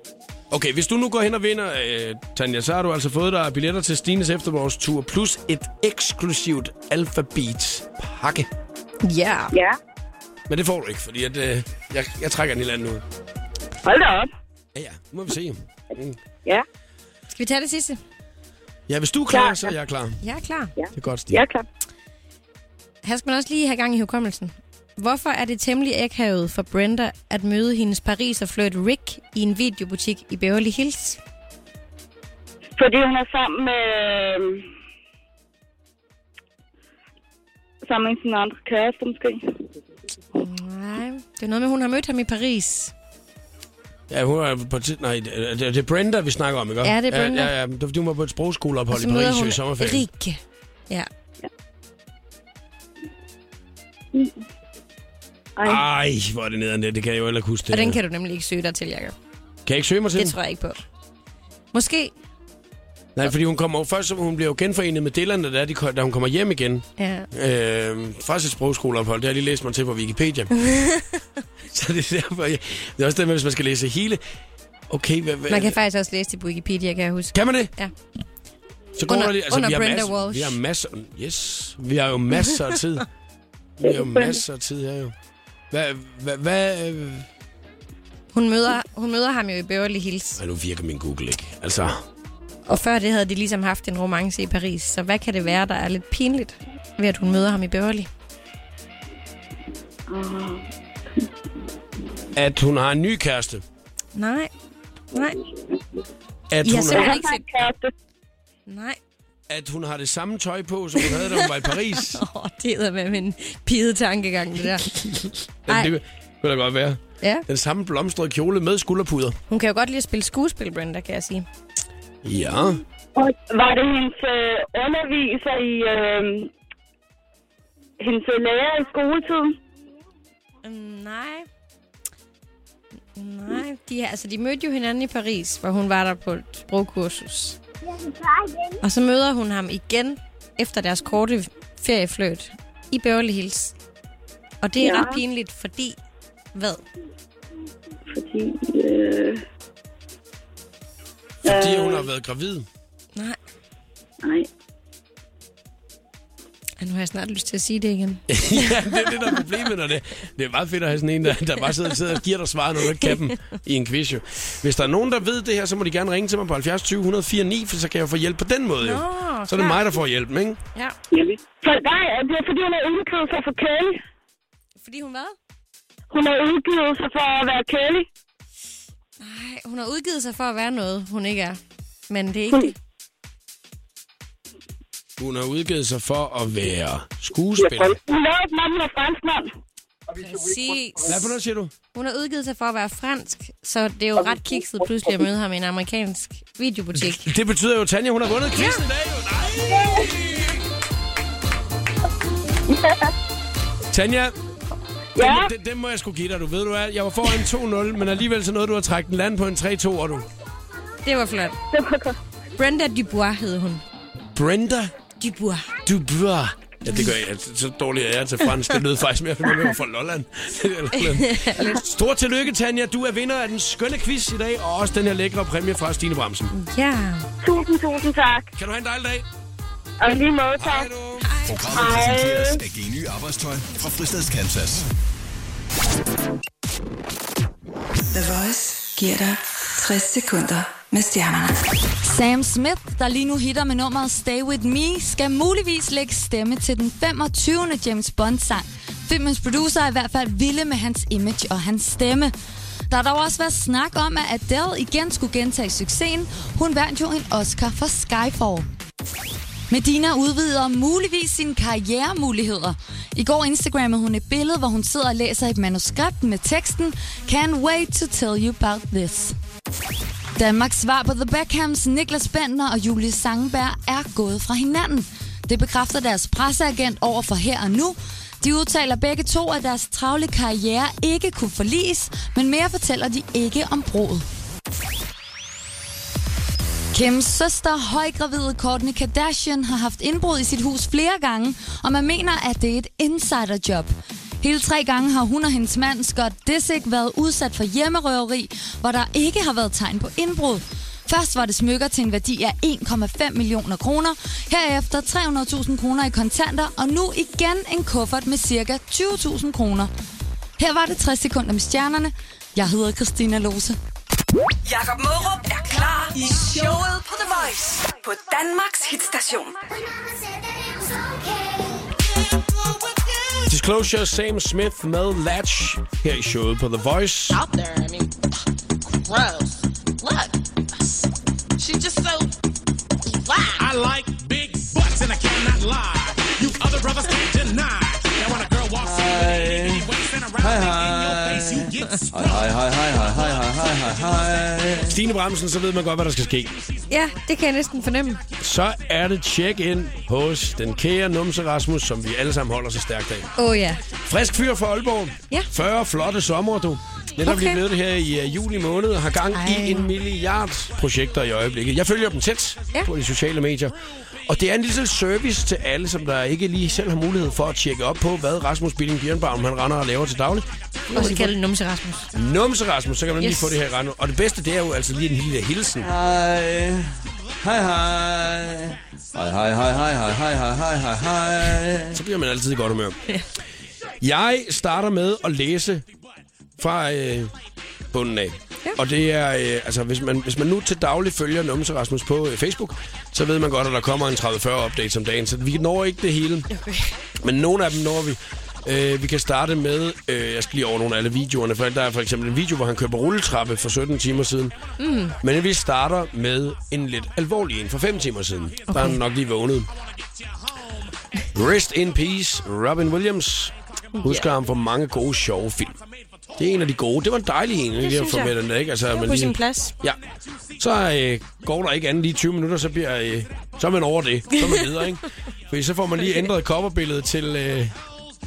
Speaker 1: Okay, hvis du nu går hen og vinder, øh, Tanja, så har du altså fået dig billetter til Stines Efterårstur, plus et eksklusivt alfabet pakke.
Speaker 2: Ja.
Speaker 8: Ja.
Speaker 1: Men det får du ikke, fordi at, øh, jeg, jeg trækker en helt anden ud.
Speaker 8: Hold da op.
Speaker 1: Ja, ja, nu må vi se. Mm.
Speaker 8: Ja,
Speaker 2: Skal vi tage det sidste?
Speaker 1: Ja, hvis du er klar,
Speaker 8: Klar.
Speaker 1: så er jeg klar.
Speaker 2: Jeg er klar.
Speaker 1: Det er godt, Stine.
Speaker 8: jeg er klar.
Speaker 2: Her skal man også lige have gang i hukommelsen. Hvorfor er det temmelig akavet for Brenda at møde hendes pariserflirt Rick i en videobutik i Beverly Hills?
Speaker 8: Fordi hun er sammen med... Øh, sammen med sin andre kæreste, måske.
Speaker 2: Nej, det er noget med, at hun har mødt ham i Paris.
Speaker 1: Ja, hun er på tid... Nej, det er, det er Brenda, vi snakker om, ikke?
Speaker 2: Ja, det er Brenda.
Speaker 1: Ja, ja, ja. Det var, fordi hun var på et sprogskoleophold i
Speaker 2: møder
Speaker 1: Paris jo i sommerferien.
Speaker 2: Rick. Ja,
Speaker 1: Ej, hvor er det nederen det. Det kan jeg jo heller ikke huske. Det
Speaker 2: og den
Speaker 1: her.
Speaker 2: kan du nemlig ikke søge dig til, Jacob.
Speaker 1: kan jeg ikke søge mig til?
Speaker 2: Det tror jeg ikke på. Måske.
Speaker 1: Nej, fordi hun kommer jo først, så hun bliver jo genforenet med Dylan, da, det er, de, ko- da hun kommer hjem igen.
Speaker 2: Ja.
Speaker 1: Øh, faktisk et sprogskoleophold, det har jeg lige læst mig til på Wikipedia. så det er derfor, jeg, det er også det med, hvis man skal læse hele... Okay, hvad, hvad,
Speaker 2: Man kan faktisk også læse det på Wikipedia, kan jeg huske.
Speaker 1: kan man det?
Speaker 2: Ja.
Speaker 1: Så går
Speaker 2: Under-
Speaker 1: der lige, altså,
Speaker 2: under
Speaker 1: vi har
Speaker 2: Brenda
Speaker 1: masser,
Speaker 2: Walsh.
Speaker 1: Vi har masser, yes, vi har jo masser af tid. vi har jo masser af tid her jo. Hvad, hvad, hvad, øh,
Speaker 2: Hun møder, hun møder ham jo i Beverly Hills,
Speaker 1: Ej, nu virker min Google ikke. Altså,
Speaker 2: og før det havde de ligesom haft en romance i Paris. Så hvad kan det være, der er lidt pinligt ved, at hun møder ham i Beverly?
Speaker 1: at hun har en ny kæreste.
Speaker 2: Nej. Nej.
Speaker 1: At
Speaker 2: I
Speaker 1: hun
Speaker 2: har
Speaker 1: har,
Speaker 2: simpelthen
Speaker 8: Han
Speaker 2: ikke
Speaker 8: har
Speaker 2: set...
Speaker 8: en kæreste.
Speaker 2: Nej.
Speaker 1: at hun har det samme tøj på, som hun havde, da hun var i Paris.
Speaker 2: Åh, oh, det hedder med min pide tankegang, det der. Ej.
Speaker 1: Jamen, det kunne- kunne da godt være.
Speaker 2: Ja.
Speaker 1: Den samme blomstrede kjole med skulderpuder.
Speaker 2: Hun kan jo godt lide at spille skuespil, Brenda, kan jeg sige.
Speaker 1: Ja.
Speaker 8: Og Var det hendes øh, underviser i... Øh, hendes øh, lærer i skoletiden?
Speaker 2: Mm, nej. Nej, de, er- altså, de mødte jo hinanden i Paris, hvor hun var der på et sprogkursus. Og så møder hun ham igen efter deres korte feriefløjt i Beverly Hills. Og det er ja.
Speaker 8: Ja.
Speaker 2: ret pinligt, fordi... Hvad?
Speaker 8: Fordi... Øh,
Speaker 1: Fordi hun har været gravid.
Speaker 2: Nej.
Speaker 8: nej.
Speaker 2: Ej, nu har jeg snart lyst til at sige det igen.
Speaker 1: ja, det er det, der er problemet, når det, det er meget fedt at have sådan en, der, der bare sidder, sidder og giver dig svaret, når du ikke kan dem i en quiz. Jo. Hvis der er nogen, der ved det her, så må de gerne ringe til mig på 70 20 104 9, for så kan jeg få hjælp på den måde. Jo.
Speaker 2: Nå,
Speaker 1: Så er det
Speaker 2: klart.
Speaker 1: mig, der får hjælp, ikke?
Speaker 2: Ja,
Speaker 8: For, nej, det er fordi, hun har udgivet sig for Kelly.
Speaker 2: fordi hun hvad?
Speaker 8: Hun har udgivet sig for at være Kelly.
Speaker 2: Nej, hun har udgivet sig for at være noget, hun ikke er. Men det er ikke det.
Speaker 1: Hun har udgivet sig for at være skuespiller.
Speaker 8: Hun lavede et navn, hun er franskmand.
Speaker 2: Præcis.
Speaker 1: Hvad for noget siger du?
Speaker 2: Hun har udgivet sig for at være fransk, så det er jo ret kikset pludselig at møde ham i en amerikansk videobutik.
Speaker 1: Det betyder jo, at Tanja, hun har vundet quizzen i dag. jo. Nej! Tanja,
Speaker 8: Ja,
Speaker 1: den, den, den må jeg sgu give dig, du ved du er. Jeg var foran 2-0, men alligevel så nåede du at trække den land på en 3-2, og du...
Speaker 2: Det var flot.
Speaker 8: det var godt.
Speaker 2: Brenda Dubois hed hun.
Speaker 1: Brenda
Speaker 2: Dubois.
Speaker 1: Dubois. Ja, det gør jeg. Altså, Så- Så dårlig er jeg til fransk. Det lød faktisk mere, som om jeg var fra Lolland. Eller noget. Stort tillykke, Tanja. Du er vinder af den skønne quiz i dag, og også den her lækre præmie fra Stine Bramsen.
Speaker 2: Ja.
Speaker 8: Tusind, tusind tak.
Speaker 1: Kan du have en dejlig dag?
Speaker 8: Og i lige måde, tak.
Speaker 1: du.
Speaker 5: Programmet præsenteres af Geny Arbejdstøj fra Fristads Kansas.
Speaker 9: The Voice giver dig 60 sekunder med stjernerne.
Speaker 6: Sam Smith, der lige nu hitter med nummeret Stay With Me, skal muligvis lægge stemme til den 25. James Bond-sang. Filmens producer er i hvert fald vilde med hans image og hans stemme. Der har dog også været snak om, at Adele igen skulle gentage succesen. Hun vandt jo en Oscar for Skyfall. Medina udvider muligvis sine karrieremuligheder. I går Instagrammede hun et billede, hvor hun sidder og læser et manuskript med teksten Can't wait to tell you about this. Danmarks svar på The Beckhams, Niklas Bender og Julie Sangeberg er gået fra hinanden. Det bekræfter deres presseagent over for her og nu. De udtaler begge to, at deres travle karriere ikke kunne forlis, men mere fortæller de ikke om bruget. Kims søster, højgravide Kourtney Kardashian, har haft indbrud i sit hus flere gange, og man mener, at det er et insiderjob. Hele tre gange har hun og hendes mand Scott Disick været udsat for hjemmerøveri, hvor der ikke har været tegn på indbrud. Først var det smykker til en værdi af 1,5 millioner kroner, herefter 300.000 kroner i kontanter, og nu igen en kuffert med ca. 20.000 kroner. Her var det 60 sekunder med stjernerne. Jeg hedder Christina Lose.
Speaker 3: Jakob Mørup er klar i showet på The Voice på Danmarks hitstation.
Speaker 1: Disclosure Sam Smith med Latch her i showet på The Voice.
Speaker 10: out there. I mean, gross. Look, she's just so wow.
Speaker 7: I like big butts and I cannot lie. You other brothers can't deny. Now when a girl walks in with an itty-bitty waist and a round thing in your face, you get
Speaker 11: Hej, hej, hej, hej, hej, hej, hej, hej, hej.
Speaker 1: Stine Bramsen, så ved man godt, hvad der skal ske.
Speaker 2: Ja, det kan jeg næsten fornemme.
Speaker 1: Så er det check-in hos den kære numse Rasmus, som vi alle sammen holder så stærkt af.
Speaker 2: Åh oh, ja.
Speaker 1: Frisk fyr fra Aalborg.
Speaker 2: Ja.
Speaker 1: 40 flotte sommer, du. Netop
Speaker 2: Okay.
Speaker 1: lige blevet det her i øh, juli måned og har gang Ej. i en milliard projekter i øjeblikket. Jeg følger dem tæt ja.
Speaker 2: Ja.
Speaker 1: på de sociale medier. Og det er en lille service til alle, som der ikke lige selv har mulighed for at tjekke op på, hvad Rasmus Billing Bjørnbaum han render og laver til daglig.
Speaker 2: Og så kalder det Numse Rasmus.
Speaker 1: Numse Rasmus, så kan man yes. lige
Speaker 2: Yes.
Speaker 1: få det her i rende. Og det bedste, det er jo altså lige en lille hilsen.
Speaker 11: Hej. Hej, hej. Hej, hej, hej, hej, hej, hej, hej, hej, hej, hej.
Speaker 1: Så bliver man altid i godt humør. Jeg starter med at læse fra øh, bunden af. Ja. Og det er, øh, altså hvis man, hvis man nu til daglig følger Numse Rasmus på øh, Facebook, så ved man godt, at der kommer en 30-40 update om dagen, så vi når ikke det hele. Okay. Men nogle af dem når vi. Øh, vi kan starte med, øh, jeg skal lige over nogle af alle videoerne, for der er for eksempel en video, hvor han kører på rulletrappe for 17 timer siden. Mm. Men vi starter med en lidt alvorlig en for 5 timer siden. Okay. Der er han nok lige vågnet. Rest in peace, Robin Williams. Husker ham for mange gode, sjove film. Det er en af de gode. Det var en dejlig en, lige at
Speaker 2: synes
Speaker 1: få
Speaker 2: jeg.
Speaker 1: med den der, ikke? Altså, det
Speaker 2: På sin plads.
Speaker 1: Ja. Så øh, går der ikke andet lige 20 minutter, så bliver øh, så er man over det. Så er man videre, ikke? Fordi så får man lige ændret coverbilledet til... Øh,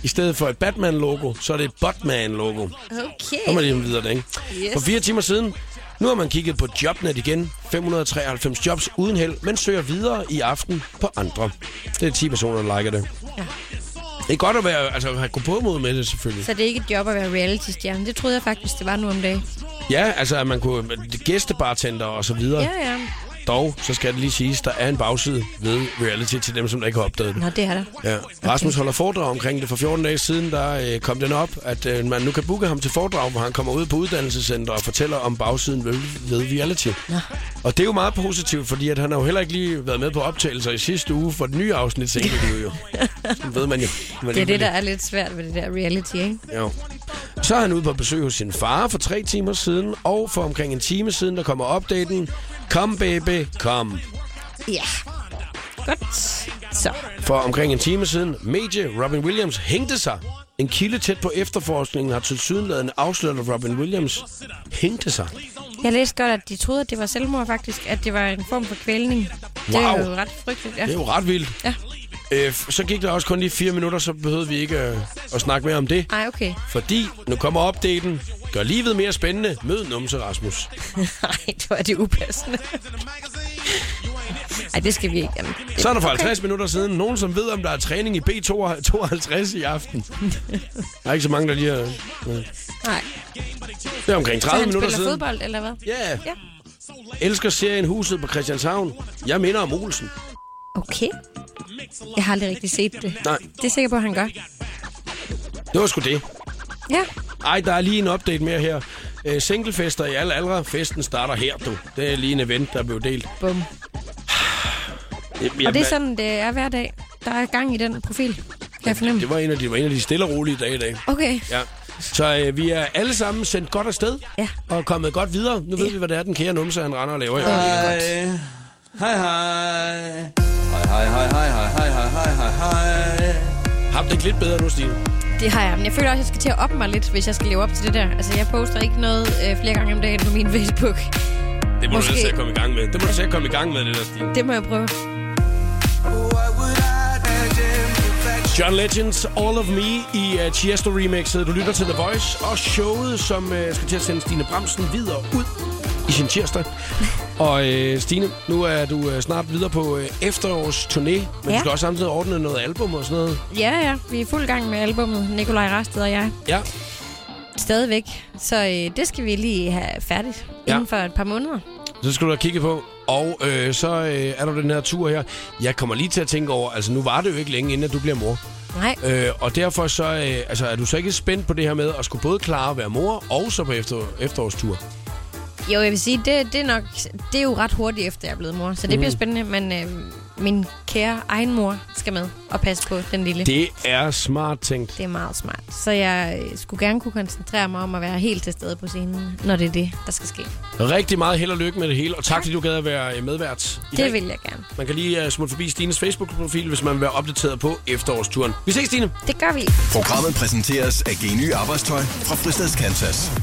Speaker 1: i stedet for et Batman-logo, så er det et Botman-logo. Så er man
Speaker 2: Okay.
Speaker 1: lige videre, ikke?
Speaker 2: Yes.
Speaker 1: For fire timer siden, nu har man kigget på Jobnet igen. 593 jobs uden held, men søger videre i aften på andre. Det er 10 personer, der liker det.
Speaker 2: Ja.
Speaker 1: Det er godt at være, altså, at have gå på mod med det, selvfølgelig.
Speaker 2: Så det er ikke et job at være reality-stjerne. Det troede jeg faktisk, det var nu om dagen.
Speaker 1: Ja, altså, at man kunne gæstebartender og så videre.
Speaker 2: Ja, ja.
Speaker 1: Dog, så skal det lige siges, der er en bagside ved reality til dem, som der ikke har opdaget den.
Speaker 2: Nå, det er der.
Speaker 1: Ja. Rasmus holder foredrag omkring det. For 14 dage siden, der øh, kom den op, at øh, man nu kan booke ham til foredrag, hvor han kommer ud på uddannelsescenter og fortæller om bagsiden ved, ved reality.
Speaker 2: Nå.
Speaker 1: Og det er jo meget positivt, fordi at han har jo heller ikke lige været med på optagelser i sidste uge for det nye afsnit, tænker du jo. Sådan ved man jo. Man
Speaker 2: Det er det, der er lidt svært ved det der reality, ikke?
Speaker 1: Jo. Så er han ude på besøg hos sin far for tre timer siden, og for omkring en time siden, der kommer opdateringen. Kom baby, kom.
Speaker 2: Ja. Godt. Så Så.
Speaker 1: For omkring en time siden, medie Robin Williams hængte sig. En kilde tæt på efterforskningen har til sydenladende afsløret, at Robin Williams hængte sig.
Speaker 2: Jeg læste godt, at de troede, at det var selvmord faktisk, at det var en form for kvælning. Det er
Speaker 1: Wow.
Speaker 2: jo ret frygteligt.
Speaker 1: Ja.
Speaker 2: Ja.
Speaker 1: Det er jo ret vildt.
Speaker 2: Ja.
Speaker 1: Øh, f- så gik der også kun lige fire minutter, så behøvede vi ikke øh, at snakke mere om det.
Speaker 2: Ej, okay.
Speaker 1: Fordi nu kommer opdateringen. Gør livet mere spændende. Mød Numse Rasmus.
Speaker 2: Nej, hvor er det upassende. Ej, det skal vi ikke. Jamen, det,
Speaker 1: Så er der for 50 minutter siden nogen, som ved, om der er træning i B52 i aften. Der er ikke så mange, der lige har... Øh.
Speaker 2: Nej.
Speaker 1: Det er omkring 30
Speaker 2: så han
Speaker 1: minutter
Speaker 2: spiller
Speaker 1: siden.
Speaker 2: fodbold, eller hvad?
Speaker 1: Ja.
Speaker 2: ja.
Speaker 1: Elsker serien Huset på Christianshavn. Jeg minder om Olsen.
Speaker 2: Okay. Jeg har aldrig rigtig set det.
Speaker 1: Nej.
Speaker 2: Det er jeg sikker på, at han gør.
Speaker 1: Det var sgu det.
Speaker 2: Ja.
Speaker 1: Ej, der er lige en update mere her. Øh, Singlefester i alle aldre. Festen starter her, du. Det er lige en event, der blev delt.
Speaker 2: Bum.
Speaker 1: Jamen,
Speaker 2: Og det er
Speaker 1: hvad-
Speaker 2: sådan, det er hver dag. Der er gang i den profil. Kan jeg fornemme?
Speaker 1: Det var en af de, det var en af de stille og rolige dage i dag.
Speaker 2: Okay.
Speaker 1: Ja. Så øh, vi er alle sammen sendt godt afsted
Speaker 2: ja.
Speaker 1: og kommet godt videre. Nu ved vi, hvad det er, den kære numse, han render og laver. i
Speaker 11: Hej.
Speaker 1: øjeblikket.
Speaker 11: Hej, hej. Hej, hej, hej, hej, hej, hej, hej, hej, hej, hej.
Speaker 1: Har det ikke lidt bedre nu, Stine?
Speaker 2: Det har jeg, men jeg føler også, at jeg skal til at op mig lidt, hvis jeg skal leve op til det der. Altså, jeg poster ikke noget øh, flere gange om dagen på min Facebook.
Speaker 1: Det må
Speaker 2: Måske.
Speaker 1: du selv til at komme i gang med. Det må du selv komme i gang med, det der, Stine.
Speaker 2: Det må jeg prøve.
Speaker 1: John Legends All of Me i uh, Tiesto remixet. Du lytter til The Voice og showet, som uh, skal til at sende Stine Bramsen videre ud i sin tirsdag. og uh, Stine, nu er du uh, snart videre på uh, efterårsturné, men ja. du
Speaker 2: Ja.
Speaker 1: skal også samtidig ordne noget album og sådan noget.
Speaker 2: Ja, ja. Vi er i fuld gang med albummet, Nikolaj Rasted og jeg.
Speaker 1: Ja,
Speaker 2: Stadigvæk. Så øh, det skal vi lige have færdigt
Speaker 1: Ja.
Speaker 2: ja. inden for et par måneder.
Speaker 1: så skal du have kigget på. Og øh, så øh, er der den her tur her. Jeg kommer lige til at tænke over, altså nu var det jo ikke længe, inden at du bliver mor.
Speaker 2: Nej.
Speaker 1: Øh, og derfor så, øh, altså, er du så ikke spændt på det her med at skulle både klare at være mor og så på efter, efterårstur?
Speaker 2: Jo, jeg vil sige, det, det, er nok, det er jo ret hurtigt efter, jeg er blevet mor. Så det
Speaker 1: Mhm.
Speaker 2: mm. bliver spændende, men øh, min kære egen mor skal med og passe på den lille.
Speaker 1: Det er smart tænkt.
Speaker 2: Det er meget smart. Så jeg øh, skulle gerne kunne koncentrere mig om at være helt til stede på scenen, når det er det, der skal ske.
Speaker 1: Rigtig meget held og lykke med det hele, og tak fordi du gad at være øh, medvært i dag.
Speaker 2: Det vil jeg gerne.
Speaker 1: Man kan lige øh, smutte forbi Stines Facebook-profil, hvis man vil være opdateret på efterårsturen. Vi ses, Stine!
Speaker 2: Det gør vi.
Speaker 5: Programmet præsenteres af Geny Arbejdstøj fra Fristads Kansas.